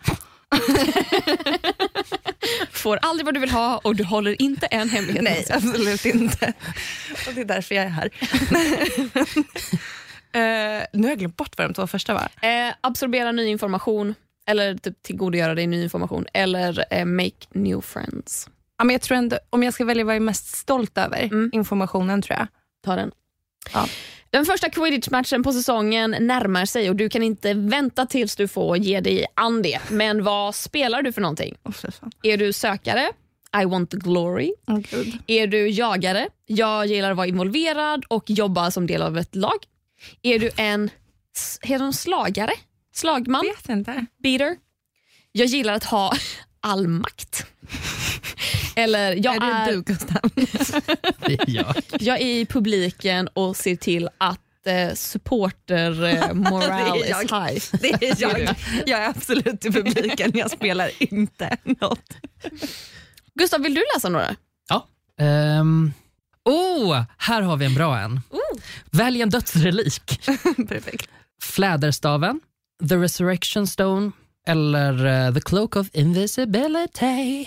C: Får aldrig vad du vill ha och du håller inte en hemlighet.
B: Nej, absolut inte. Och det är därför jag är här. Eh, nu har jag glömt bort vad de två första var.
C: Eh, absorbera ny information eller typ tillgodogöra dig ny information eller eh, make new friends.
B: Ja, men jag tror ändå, om jag ska välja vad jag är mest stolt över,
C: Mm.
B: informationen tror jag.
C: Ta den.
B: Ja.
C: Den första quidditch-matchen på säsongen närmar sig och du kan inte vänta tills du får ge dig an det. Men vad spelar du för någonting?
B: Åh, fy fan.
C: Är du sökare? I want the glory.
B: Åh, gud.
C: Är du jagare? Jag gillar att vara involverad och jobba som del av ett lag. Är du en s- heter de slagare? Slagman?
B: Vet inte.
C: beater. Jag gillar att ha all makt. Eller jag
B: är det
C: är,
B: du, Gustav?
A: Det är jag.
C: jag är i publiken och ser till att eh, supporter eh, morale
B: Det är jag.
C: is high.
B: Det är jag. Jag är absolut i publiken, jag spelar inte något.
C: Gustav, vill du läsa några?
A: Ehm, oh, här har vi en bra en.
C: Oh.
A: Välj en dödsrelik.
B: Perfekt.
A: Fläderstaven, The Resurrection Stone eller eh, The Cloak of Invisibility.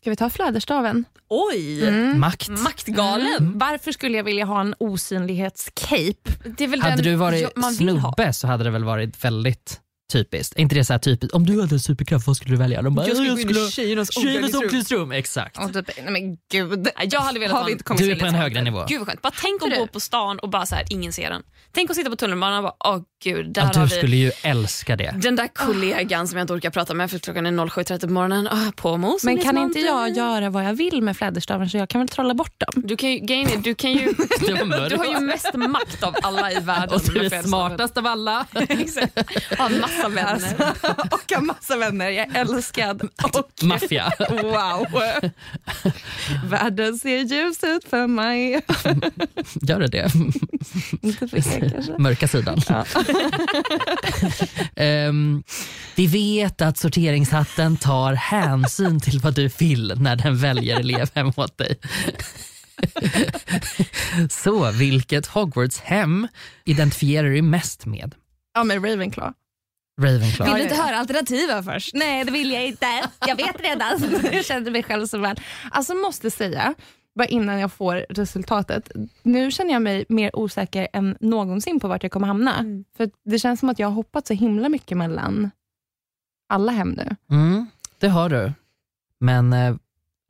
B: Ska vi ta fläderstaven?
C: Oj!
A: Makt.
C: Mm.
B: Mm.
C: Maktgalen.
B: Varför skulle jag vilja ha en osynlighetscape?
C: Det är väl
A: Mm. Hade
C: den
A: du varit
C: jag- man vill ha.
A: snubbe så hade det väl varit väldigt typiskt. Är inte det så här typiskt? Om du hade en superkraft, vad skulle du välja? De bara,
C: Jag skulle
A: "Jag
C: gå in i tjejernas
A: tjejernas
C: omklädningsrum.
A: omklädningsrum. Exakt.
B: Och typ, nej men gud.
C: Jag hade velat
B: Har
C: ha
B: vi
C: en
B: inte kommit
A: Du
B: till
A: är på
B: det?
A: en högre nivå.
C: Gud vad skönt. Bara tänk att
B: du?
C: gå på stan och bara så här, ingen ser en. Tänk att sitta på tunnelbanan och bara, åh gud, där
A: Ja,
C: har
A: du
C: vi
A: skulle ju älska det.
C: den där kollegan som jag inte orkar prata med för klockan är 07.30 på morgonen. Ah, på med oss,
B: Men
C: Miss
B: kan inte
C: Mountain.
B: jag göra vad jag vill med fläderstaven så jag kan väl trolla bort dem?
C: Du kan ju, grejen är, du kan ju,
A: Det var mörkt.
C: du har ju mest makt av alla i världen.
A: Och du
C: med
A: är
C: fredagsmorgon.
A: smartast av alla.
C: Exakt. Har massa vänner.
B: Alltså, och har massa vänner, jag är älskad. Och
A: Maffia.
B: wow. Världen ser ljus ut för mig.
A: Gör det det?
B: Inte för er kanske.
A: Mörka sidan. Ehm, vi vet att sorteringshatten tar hänsyn till vad du vill när den väljer elevhem åt dig. Så vilket Hogwarts-hem identifierar du mest med?
B: Ja men Ravenclaw.
A: Ravenclaw.
B: Vill du inte
C: höra alternativen först?
B: Nej, det vill jag inte. Jag vet redan. Jag kände mig själv så väl. Alltså måste säga, bara innan jag får resultatet. Nu känner jag mig mer osäker än någonsin på vart jag kommer hamna.
C: Mm.
B: För det känns som att jag har hoppat så himla mycket mellan alla hem nu.
A: Mm, det har du. Men eh,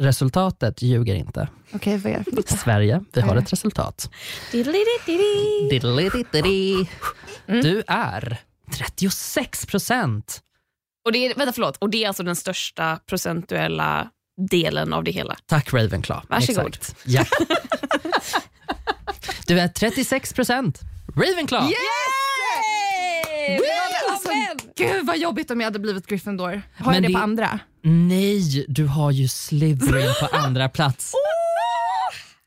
A: resultatet ljuger inte.
B: Okej, vad är det för något?
A: Sverige, vi har ett resultat. Diddelididdidi.
B: Mm.
A: Du är 36 procent.
C: Och det är, vänta, förlåt. Och det är alltså den största procentuella delen av det hela.
A: Tack Ravenclaw.
C: Varsågod.
A: Exakt. Ja. Du är 36 procent Ravenclaw.
B: Alltså, gud vad jobbigt om jag hade blivit Gryffindor. Har
A: Men
B: jag det,
A: det-
B: på andra?
A: Nej, du har ju Slytherin på andra plats.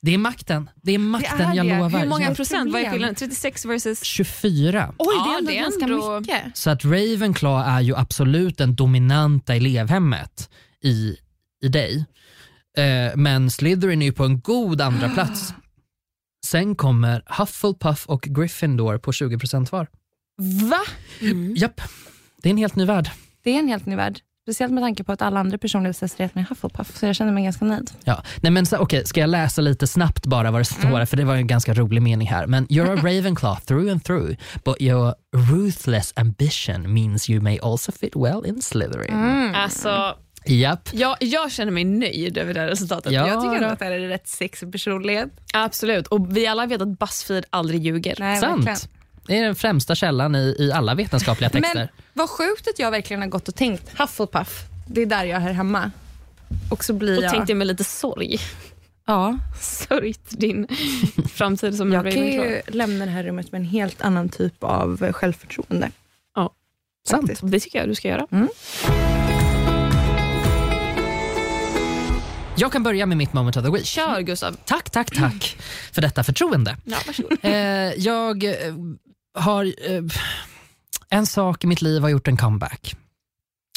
A: Det är makten. Det är makten,
B: Det är
A: jag
B: det.
A: lovar.
C: Hur många
A: Ja.
C: procent? Vad
B: problem.
C: är skillnaden? 36 versus...
A: 24.
B: Oj,
C: Ja, det är ändå-
B: mycket.
A: Så att Ravenclaw är ju absolut den dominanta elevhemmet i, i dig. Eh, men Slytherin är ju på en god andra plats. Sen kommer Hufflepuff och Gryffindor på 20 procent var. Mm.
B: Va?
A: Japp, det är en helt ny värld.
B: Det är en helt ny värld. Speciellt med tanke på att alla andra personlighetstester heter mig Hufflepuff, så jag känner mig ganska nöjd.
A: Ja. Nej, men så, okej, ska jag läsa lite snabbt bara vad det
B: Mm.
A: står, för det var ju en ganska rolig mening här. Men you're a Ravenclaw through and through, but your ruthless ambition means you may also fit well in Slytherin.
B: Mm.
C: Alltså,
A: Japp.
C: jag, jag känner mig nöjd över det här resultatet.
A: Ja,
B: Jag tycker ändå
A: då.
B: att det här är en rätt sexig personlighet.
C: Absolut. Och vi alla vet att Buzzfeed aldrig ljuger.
B: Nej, verkligen.
A: Sant. Det är den främsta källan i, i alla vetenskapliga texter.
B: Men vad sjukt att jag verkligen har gått och tänkt Hufflepuff. Det är där jag hör hemma. Och så blir
C: Och
B: jag...
C: tänkte med lite sorg.
B: ja,
C: Sörjt din framtid som en
B: jag kan
C: Ravenclaw.
B: ju lämna det här rummet med en helt annan typ av självförtroende.
A: Sant.
C: Det tycker jag du ska göra.
A: Jag kan börja med mitt moment of the week.
C: Kör Gustav.
A: Tack, tack, tack för detta förtroende.
C: Ja, varsågod.
A: Eh, jag eh, har... Eh, en sak i mitt liv har gjort en comeback.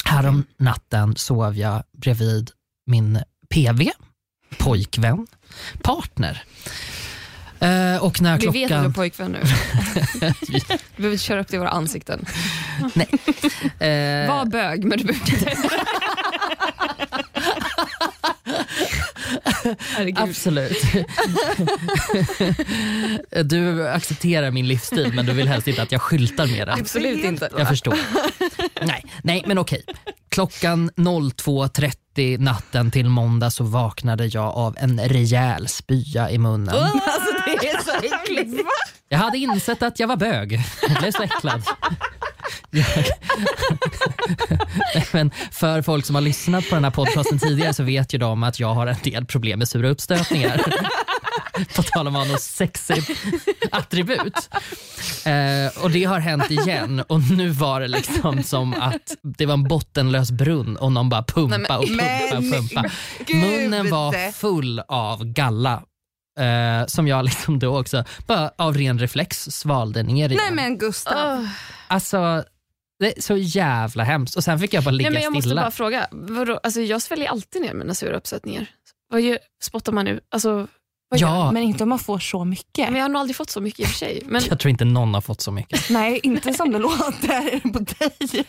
A: Härom natten sov jag bredvid min PV, pojkvän, partner. Eh, och när
C: Vi vet att du är
A: klockan...
C: pojkvän nu. Du behöver inte köra upp det i våra ansikten.
A: eh,
C: Var bög, men du behöver inte... Herregud.
A: Absolut. du accepterar min livsstil men du vill helst inte att jag skyltar med den.
C: Absolut inte.
A: Jag förstår. Nej, nej men okej. Klockan 02.30 natten till måndag så vaknade jag av en rejäl spya i munnen.
C: Alltså, det är så äckligt.
A: Jag hade insett att jag var bög. Jag blev så äcklad. Jag... Nej, men för folk som har lyssnat på den här podcasten tidigare så vet ju de att jag har en del problem med sura uppstötningar. På tal om att ha något sexigt attribut. Eh, och det har hänt igen och nu var det liksom som att det var en bottenlös brunn och någon bara pumpa och pumpa och pumpa. Munnen var full av galla eh, som jag liksom då också bara av ren reflex svalde ner igen.
B: Nej men Gustav.
A: Alltså, det är så jävla hemskt. Och sen fick jag bara ligga
C: Nej, men jag måste
A: stilla.
C: bara fråga. Vadå? Alltså, jag sväljer alltid ner mina sura uppsättningar. Vad gör, spottar man nu? Alltså, vad gör-
A: Ja,
B: Men inte om man får så mycket.
C: Men jag har nog aldrig fått så mycket i och för sig. Men
A: jag tror inte någon har fått så mycket.
B: Nej, inte som det låter på dig.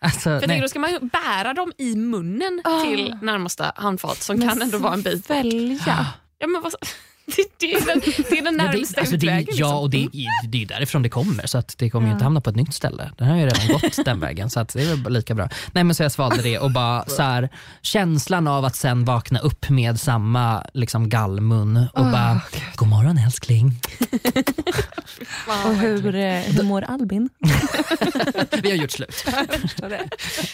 A: Alltså,
C: För jag
A: nej.
C: tänker, då ska man ju bära dem i munnen
B: Ah.
C: till närmsta handfat som kan ändå vara en bit.
B: Välja.
C: Ja, men vad, det, det, är den, det är den
A: Men det-
C: närmsta
A: alltså, det är-
C: utvägen.
A: Ja,
C: liksom.
A: och det är, det är därifrån det kommer. Så att det kommer ju inte hamna på ett nytt ställe. Den har ju redan gått den vägen. Så att det är väl lika bra. Nej men så jag svalde det och bara så här, känslan av att sen vakna upp med samma liksom, gallmun och bara, god morgon älskling.
B: Och hur, eh, hur mår Albin?
A: Vi har gjort slut.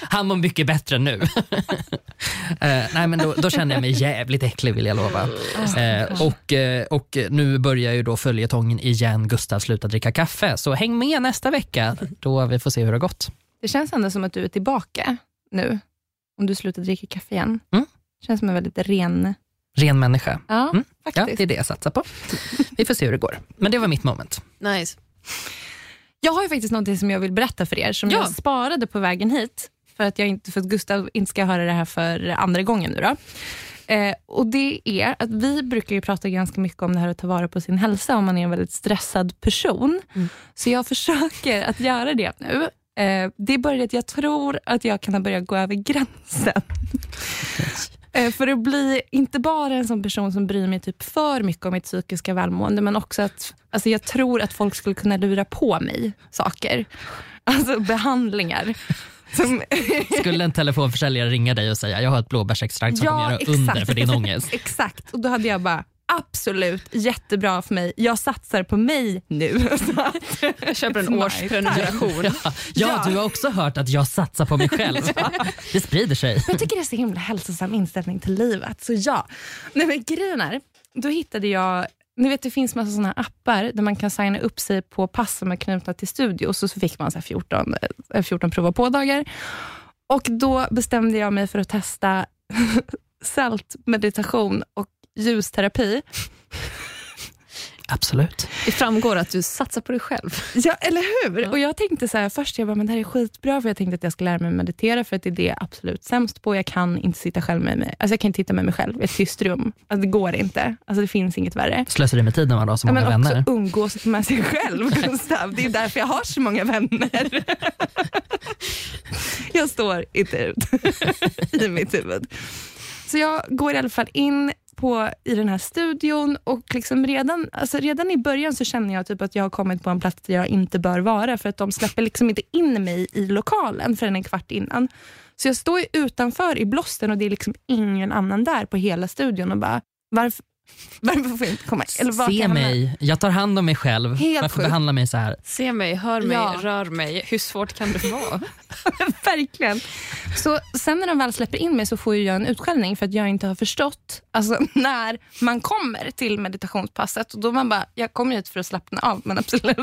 A: Han mår mycket bättre nu. Eh, nej, men då, då känner jag mig jävligt äcklig vill jag lova. Eh, och, eh, och nu börjar ju då följetongen igen. Gustav slutar dricka kaffe. Så häng med nästa vecka då vi får se hur det har gått.
B: Det känns ändå som att du är tillbaka nu. Om du slutar dricka kaffe igen.
A: Mm.
B: känns som en väldigt ren...
A: Ren människa.
B: Ja,
A: Mm. Ja,
B: faktiskt.
A: det är det jag satsar på. Vi får se hur det går. Men det var mitt moment.
C: Nice.
B: Jag har ju faktiskt någonting som jag vill berätta för er som
C: Ja.
B: jag sparade på vägen hit för att, jag inte, för att Gustav inte ska höra det här för andra gången nu. Då. Eh, och det är att vi brukar ju prata ganska mycket om det här att ta vara på sin hälsa om man är en väldigt stressad person. Så jag försöker att göra det nu. Eh, det börjar att jag tror att jag kan ha börjat gå över gränsen. Eh, För att bli inte bara en sån person som bryr mig typ för mycket om mitt psykiska välmående, men också att alltså jag tror att folk skulle kunna lura på mig saker. Alltså behandlingar. Som,
A: Skulle en telefonförsäljare ringa dig och säga jag har ett blåbärsextrakt som
B: Ja,
A: kommer göra
B: exakt.
A: under för din ångest.
B: exakt, och då hade jag bara Absolut, jättebra för mig. Jag satsar på mig nu. Så att-
C: Jag köper en
B: Nice.
C: årsprenumeration.
A: Ja, ja, du har också hört att jag satsar på mig själv. Det sprider sig.
B: Jag tycker det är så himla hälsosam inställning till livet. Så ja. Nej, men grejen är, då hittade jag... Ni vet, det finns massa såna här appar där man kan signa upp sig på pass som är knutna till studios och så fick man så här 14, eh, 14 prova på-dagar. Och då bestämde jag mig för att testa saltmeditation och ljusterapi.
A: Absolut.
C: Det framgår att du satsar på dig själv.
B: Ja, eller hur? Och jag tänkte så här, först, jag bara, men det här är skitbra, för jag tänkte att jag ska lära mig meditera, för att det är det jag är absolut sämst på. Jag kan inte sitta själv med mig, alltså jag kan inte titta med mig själv i ett tyst rum. Alltså det går inte. Alltså det finns inget värre.
A: Slösar du med tiden man har så
B: Ja,
A: många
B: men
A: vänner?
B: också umgås med sig själv, Gustav. Det är därför jag har så många vänner. Jag står inte ut i mitt huvud. Så jag går i alla fall in på, i den här studion och liksom redan, alltså redan i början så känner jag typ att jag har kommit på en plats där jag inte bör vara för att de släpper liksom inte in mig i lokalen förrän en kvart innan. Så jag står ju utanför i blåsten och det är liksom ingen annan där på hela studion och bara, varför, Varför får jag inte komma? Eller var kan
A: Se
B: jag hamna?
A: mig, jag tar hand om mig själv.
B: Helt
A: Varför
B: sjukt.
A: behandla mig så här?
C: Se mig, hör mig,
B: Ja.
C: rör mig. Hur svårt kan det vara?
B: Verkligen. Så sen när de väl släpper in mig så får ju jag en utskällning för att jag inte har förstått alltså, när man kommer till meditationspasset. Och då man bara, jag kommer hit för att slappna av men absolut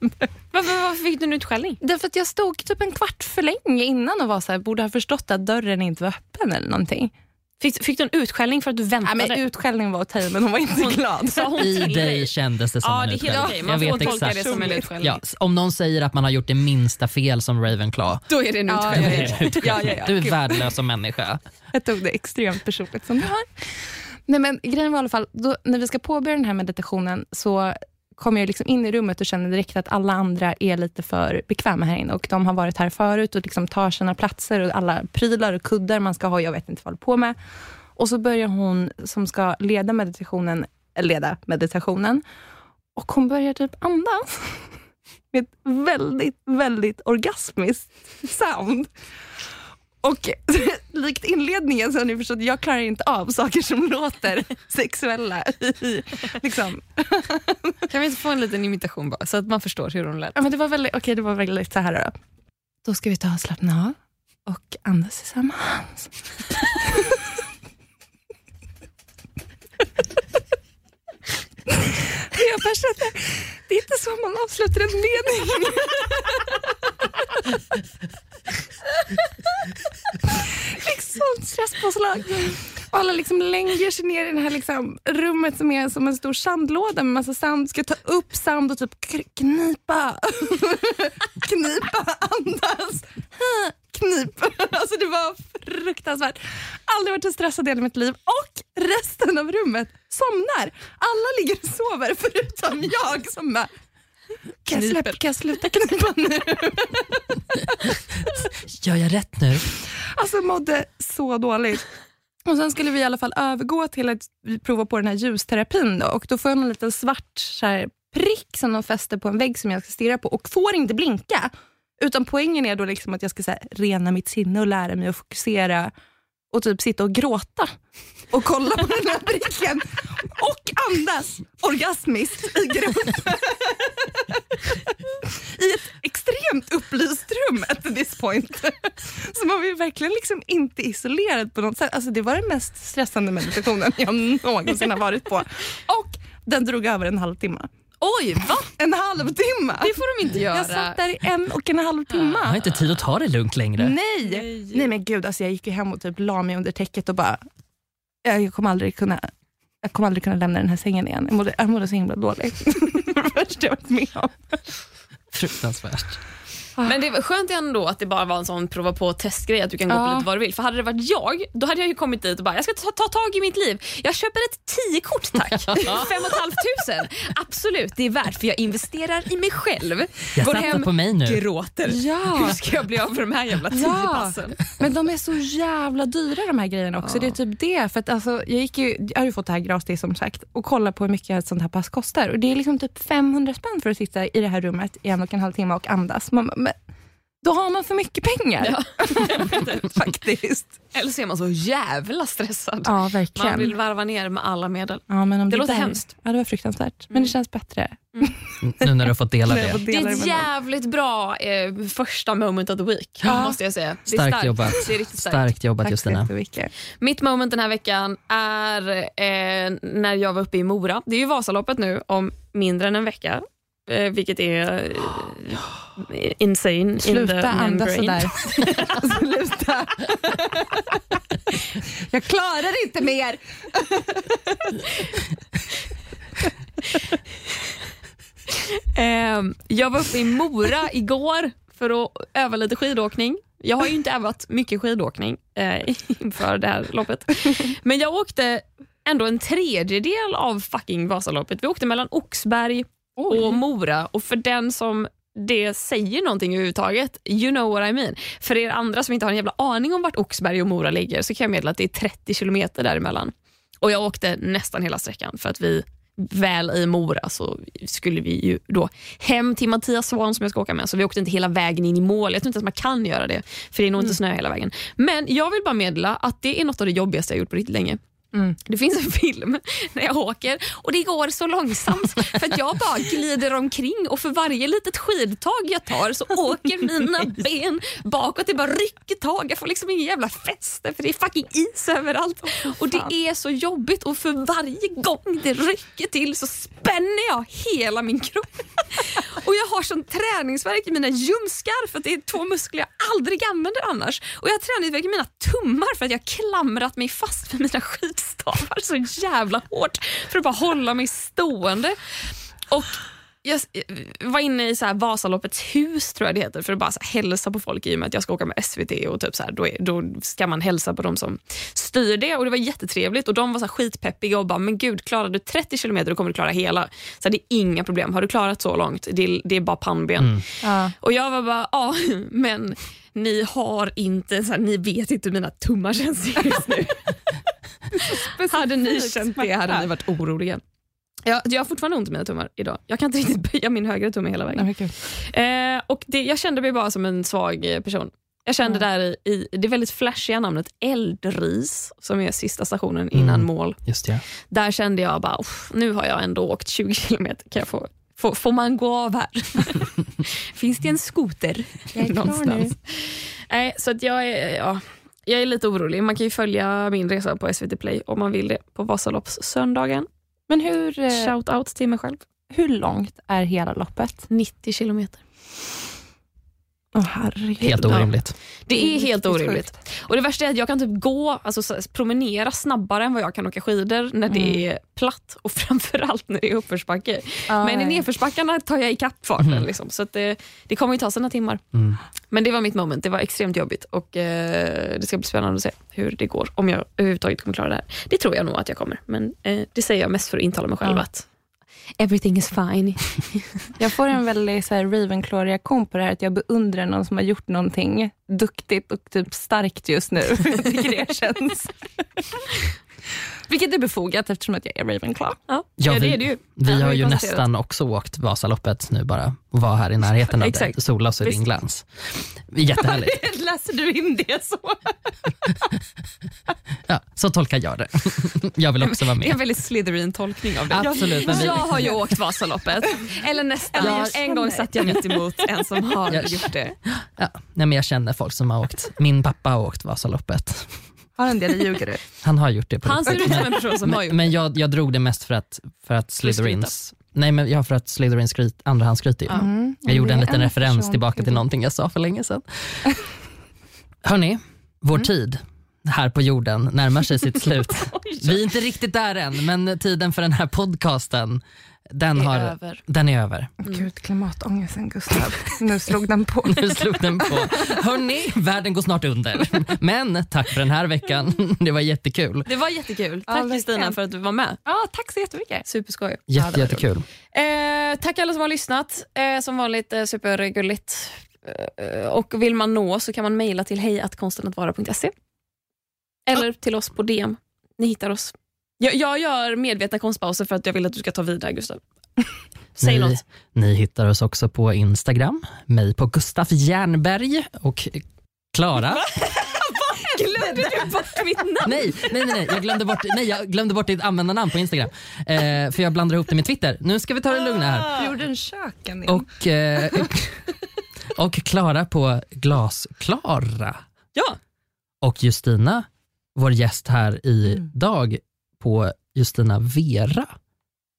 B: inte.
C: Varför, varför fick du en utskällning?
B: Därför att jag stod typ en kvart för länge innan och var så här, borde ha förstått att dörren inte var öppen eller någonting.
C: Fick, fick du en utskällning för att du
B: Ja,
C: väntade?
B: men utskällning var att ta i men hon var inte glad.
C: Sa hon
A: I
C: till
A: dig kändes det som
C: Ja,
A: en
C: det är helt
A: utskällning.
C: okej. Man
A: Jag
C: får
A: vet
C: tolka det
A: exakt.
C: som en utskällning.
A: Ja, s- om någon säger att man har gjort det minsta fel som Ravenclaw,
C: Då är det en
B: Ja, ja,
C: utskällning.
B: ja. ja, ja, ja.
A: du är
B: Gud.
A: värdelös som människa.
B: Jag tog det extremt personligt som du har. Nej, men grejen var i alla fall, då, när vi ska påbörja den här meditationen så kommer jag liksom in i rummet och känner direkt att alla andra är lite för bekväma här inne och de har varit här förut och liksom tar sina platser och alla prylar och kuddar man ska ha, jag vet inte vad jag håller på med. Och så börjar hon som ska leda meditationen, leda meditationen och hon börjar typ andas med ett väldigt, väldigt orgasmiskt sound. Och likt inledningen så har ni förstått, jag klarar inte av saker som låter sexuella. liksom.
C: Kan vi inte få en liten imitation bara, så att man förstår hur hon lät?
B: ja, men det var väldigt, okej det var väldigt så här då. Då ska vi ta och slappna av och andas tillsammans. jag bara känner, det är inte så man avslutar en mening. liksom sånt stresspåslag. Och alla liksom länger sig ner i det här liksom rummet som är som en stor sandlåda med massa sand. Ska ta upp sand och typ kr- knipa. knipa, andas, knip. Alltså det var fruktansvärt. Aldrig varit så stressad i hela mitt liv. Och resten av rummet somnar. Alla ligger och sover förutom jag som bara kan jag, släppa, kan jag sluta knipa nu?
A: Gör jag rätt nu?
B: Alltså mådde så dåligt. Och Sen skulle vi i alla fall övergå till att prova på den här ljusterapin. Då, och då får jag en liten svart så här, prick som de fäster på en vägg som jag ska stirra på och får inte blinka. Utan poängen är då liksom att jag ska så här, rena mitt sinne och lära mig att fokusera och typ sitta och gråta och kolla på den här pricken och andas orgasmiskt i grupp. I ett extremt upplyst rum at this point. Så man var ju verkligen liksom inte isolerad på något sätt. Alltså det var den mest stressande meditationen jag någonsin har varit på. Och den drog över en halvtimme.
C: Oj, va?
B: En halvtimme!
C: Det får de inte göra.
B: Jag satt där i en och en halv
A: Jag har
B: timme.
A: inte tid att ta Ah, det lugnt längre.
B: Nej. Nej! men gud, alltså jag gick ju hem och typ la mig under täcket och bara, jag jag kommer aldrig kunna jag kommer aldrig kunna lämna den här sängen igen. Jag mådde, jag mådde så himla dåligt. det var det värsta jag varit med om.
A: Fruktansvärt.
C: Men det var skönt ändå att det bara var en sån prova på och testgrej att du kan gå
B: Ja.
C: på lite vad du vill. För hade det varit jag, då hade jag ju kommit dit och bara, jag ska ta, ta tag i mitt liv. Jag köper ett 10-kort tack. Fem och ett halvt tusen. Absolut, det är värt för jag investerar i mig själv.
A: Jag satsar på mig nu.
C: gråter.
B: Ja.
C: Hur ska jag bli av med de här jävla tio
B: Ja.
C: passen?
B: Men de är så jävla dyra de här grejerna också. Det är typ det. För att alltså, jag, gick ju, jag har ju fått det här gratis som sagt och kollat på hur mycket ett sånt här pass kostar. Och Det är liksom typ 500 spänn för att sitta i det här rummet i en och en halv timme och andas. Man, bara, men, då har man för mycket pengar. Faktiskt.
C: Eller så är man så jävla stressad.
B: Ja,
C: Man
B: verkligen.
C: vill varva ner med alla medel.
B: Ja, men om
C: Det
B: det,
C: låter
B: där-
C: hemskt. Mm.
B: Ja, det var fruktansvärt. Men det känns bättre.
A: Nu när du har fått dela det.
C: Det är ett jävligt bra eh, första moment of the week, måste jag säga. Det är
A: Starkt jobbat.
C: Det är riktigt starkt.
A: Starkt jobbat
B: Tack så
A: Justina.
B: jättemycket.
C: Mitt moment den här veckan är eh, när jag var uppe i Mora. Det är ju Vasaloppet nu om mindre än en vecka. Eh, vilket är eh, insane. in the
B: Sluta andas
C: membrane.
B: sådär. Alltså, Sluta. Jag klarar inte mer.
C: Eh, jag var uppe i Mora igår för att öva lite skidåkning. Jag har ju inte övat mycket skidåkning eh, inför det här loppet. Men jag åkte ändå en tredjedel av fucking Vasaloppet. Vi åkte mellan Oxberg och Mora och för den som det säger någonting överhuvudtaget, you know what I mean. För er andra som inte har en jävla aning om vart Oxberg och Mora ligger så kan jag meddela att det är 30 kilometer däremellan. Och jag åkte nästan hela sträckan för att vi väl i Mora så skulle vi ju då hem till Mattias Svahn som jag ska åka med. Så vi åkte inte hela vägen in i mål. Jag tror inte att man kan göra det för det är nog inte snö hela vägen. Men jag vill bara meddela att det är något av det jobbigaste jag gjort på riktigt länge. Det finns en film när jag åker och det går så långsamt för att jag bara glider omkring och för varje litet skidtag jag tar så åker mina ben bakåt. Det är bara rycker tag. Jag får liksom ingen jävla fäste för det är fucking is överallt. Och det är så jobbigt och för varje gång det rycker till så spänner jag hela min kropp. Och jag har sån träningsvärk i mina ljumskar för att det är två muskler jag aldrig använder annars. Och jag har träningsvärk i mina tummar för att jag klamrat mig fast vid mina skidstavar så jävla hårt för att bara hålla mig stående. Och jag s- var inne i så här Vasaloppets hus tror jag det heter för att bara så här hälsa på folk i och med att jag ska åka med SVT och typ så här, då, är, då ska man hälsa på de som styr det och det var jättetrevligt och de var så här skitpeppiga och bara men gud klarar du 30 kilometer då kommer du klara hela. Så här, det är inga problem, har du klarat så långt det är, det är bara pannben.
B: Ja.
C: Och jag var bara ja men ni har inte, så här, ni vet inte hur mina tummar känns just nu. hade ni känt det hade ni varit oroliga. Jag, jag har fortfarande ont i mina tummar idag. Jag kan inte riktigt böja min högra tumme hela vägen.
B: Nej, men gud.
C: Eh, och det, jag kände mig bara som en svag eh, person. Jag kände där i, i det väldigt flashiga namnet Eldris, som är sista stationen innan
A: Mm.
C: mål.
A: Just det.
C: Där kände jag bara, "Uff, nu har jag ändå åkt 20 kilometer. Kan jag få, få, får man gå av här? Finns det en skoter
B: Jag är klar
C: någonstans? Nej, så att jag är, ja, jag är lite orolig. Man kan ju följa min resa på SVT Play om man vill det på Vasaloppssöndagen.
B: Men hur, eh,
C: Shout-out till mig själv.
B: hur långt är hela loppet?
C: 90 kilometer.
B: Åh herregud.
A: Helt orimligt.
C: Det är helt
B: riktigt
C: orimligt.
B: sjukt.
C: Och det värsta är att jag kan typ gå, alltså så- promenera snabbare än vad jag kan åka skidor när det är platt och framförallt när det är uppförsbacke.
B: Ja,
C: Men i
B: ja, ja.
C: nedförsbackarna tar jag ikapp farten
A: Mm.
C: liksom. Så att det, det kommer ju ta sina timmar.
A: Mm.
C: Men det var mitt moment, det var extremt jobbigt och eh, det ska bli spännande att se hur det går. Om jag överhuvudtaget kommer klara det här. Det tror jag nog att jag kommer, men eh, det säger jag mest för att intala mig själv
B: Ja.
C: att everything is fine.
B: Jag får en väldigt så här, Ravenclaw-reaktion på det här, att jag beundrar någon som har gjort någonting duktigt och typ starkt just nu. jag tycker det känns. Vilket är befogat eftersom att jag är Ravenclaw.
C: Ja,
A: Ja,
C: ja,
A: vi-
C: det är det ju.
A: Vi
C: Ja,
A: har
C: vi
A: ju
C: konstaterat.
A: nästan också åkt Vasaloppet nu bara och var här i närheten av dig.
C: Exakt.
A: Sola oss i
C: Visst.
A: din glans. Jättehärligt.
B: Läser du in det så?
A: Ja, så tolkar jag det. Jag vill också vara
C: Det är
A: med.
C: en väldigt Slytherin-tolkning av det.
A: Absolut. Men vi,
C: Jag har ju åkt Vasaloppet. Eller nästan.
A: Ja,
C: en gång satt jag mitt emot en som har gjort det.
A: ja, nej, men jag känner folk som har åkt. Min pappa har åkt Vasaloppet.
B: Har en del, ljuger du?
A: Han har gjort det. På
C: Han ser ut som en person som har
A: men
C: gjort
A: men jag, jag drog det mest för att, för att
C: För att skryta.
A: Slytherins... Nej, men jag för att Slytherins skryt, andrahandsskryter ju.
B: Mm.
A: Jag gjorde en liten referens tillbaka till någonting jag sa för länge sedan. Hörni, vår
C: Mm.
A: tid här på jorden närmar sig sitt slut. Vi är inte riktigt där än, men tiden för den här podcasten, den,
C: det.
A: har,
C: Över.
A: den är över.
B: Gud, klimatångesten Gustav. Nu slog den på.
A: Nu slog den på. Hörni, världen går snart under. Men tack för den här veckan. Det var jättekul.
C: Det var jättekul.
B: Ja,
C: Tack
B: verkligen.
C: Kristina för att du var med.
B: Ja, tack så jättemycket.
C: Superskoj.
A: Jätte, jättekul.
C: Eh, tack alla som har lyssnat. Eh, som vanligt eh, supergulligt. Eh, och vill man nå så kan man mejla till hejatkonstenattvara.se. Eller till oss på DM. Ni hittar oss. Jag, jag gör medvetna konstpauser för att jag vill att du ska ta vidare Gustav. Säg
A: ni,
C: något.
A: ni hittar oss också på Instagram, mig på Gustaf Järnberg och Klara.
C: Glömde du bort mitt namn?
A: Nej, nej, nej, nej. Jag, glömde bort, nej jag glömde bort ditt användarnamn på Instagram. Eh, för jag blandar ihop det med Twitter. Nu ska vi ta det lugna här.
B: Du gjorde en köken in.
A: Och, eh, och Klara på Glasklara.
C: Ja.
A: Och Justina, vår gäst här
B: Mm.
A: idag, på Justina Vera.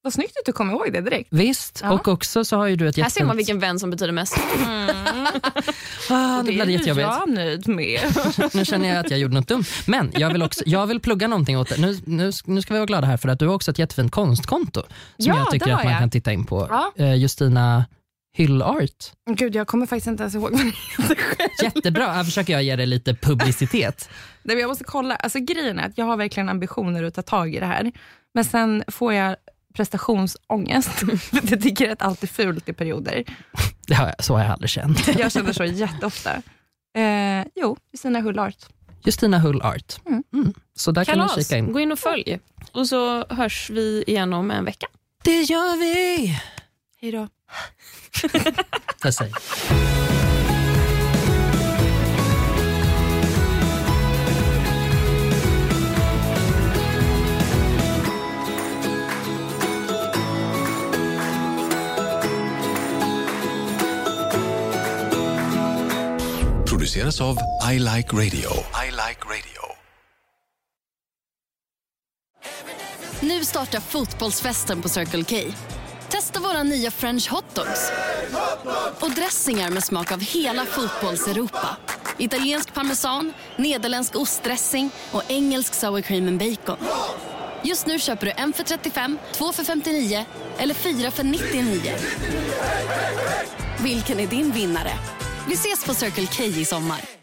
B: Vad snyggt att du kom ihåg det direkt.
A: Visst,
B: Ja.
A: och också så har ju du ett
C: Här ser man
A: jättefint-
C: vilken vän som betyder mest.
A: Ah, nu blev det
B: Mm. är ju
A: jättejobbigt.
B: jag nöjd med.
A: Nu känner jag att jag gjorde något dumt. Men jag vill, också, jag vill plugga någonting åt dig. Nu, nu, nu ska vi vara glada här för att du har också ett jättefint konstkonto som
B: Ja,
A: jag tycker
B: det har
A: att man
B: jag.
A: kan titta in på.
B: Ja.
A: Eh, Justina Hyllart.
B: Gud, jag kommer faktiskt inte ens ihåg vad den heter själv.
A: Jättebra, här försöker jag ge dig lite publicitet.
B: Nej, men jag måste kolla. Alltså, grejen är att jag har verkligen ambitioner att ta tag i det här. Men sen får jag prestationsångest. För jag tycker att allt är fult i perioder.
A: Det har jag, så har jag aldrig känt.
B: Jag känner så jätteofta. Eh, jo, Stina Hullart.
A: Justina Hullart.
B: Mm.
A: Mm. Så där kan man
C: Kalas.
A: kika in.
C: Gå in och följ. Och så hörs vi igen om en vecka.
A: Det gör vi!
B: Hej då.
A: Där säger jag.
E: produceras av I Like Radio. I like radio.
F: Nu startar fotbollsfesten på Circle K. Testa våra nya french hotdogs och dressingar med smak av hela fotbolls-Europa. Italiensk parmesan, nederländsk ostdressing och engelsk sour cream and bacon. Just nu köper du en för 35, två för 59 eller fyra för 99. Vilken är din vinnare? Vi ses på Circle K i sommar.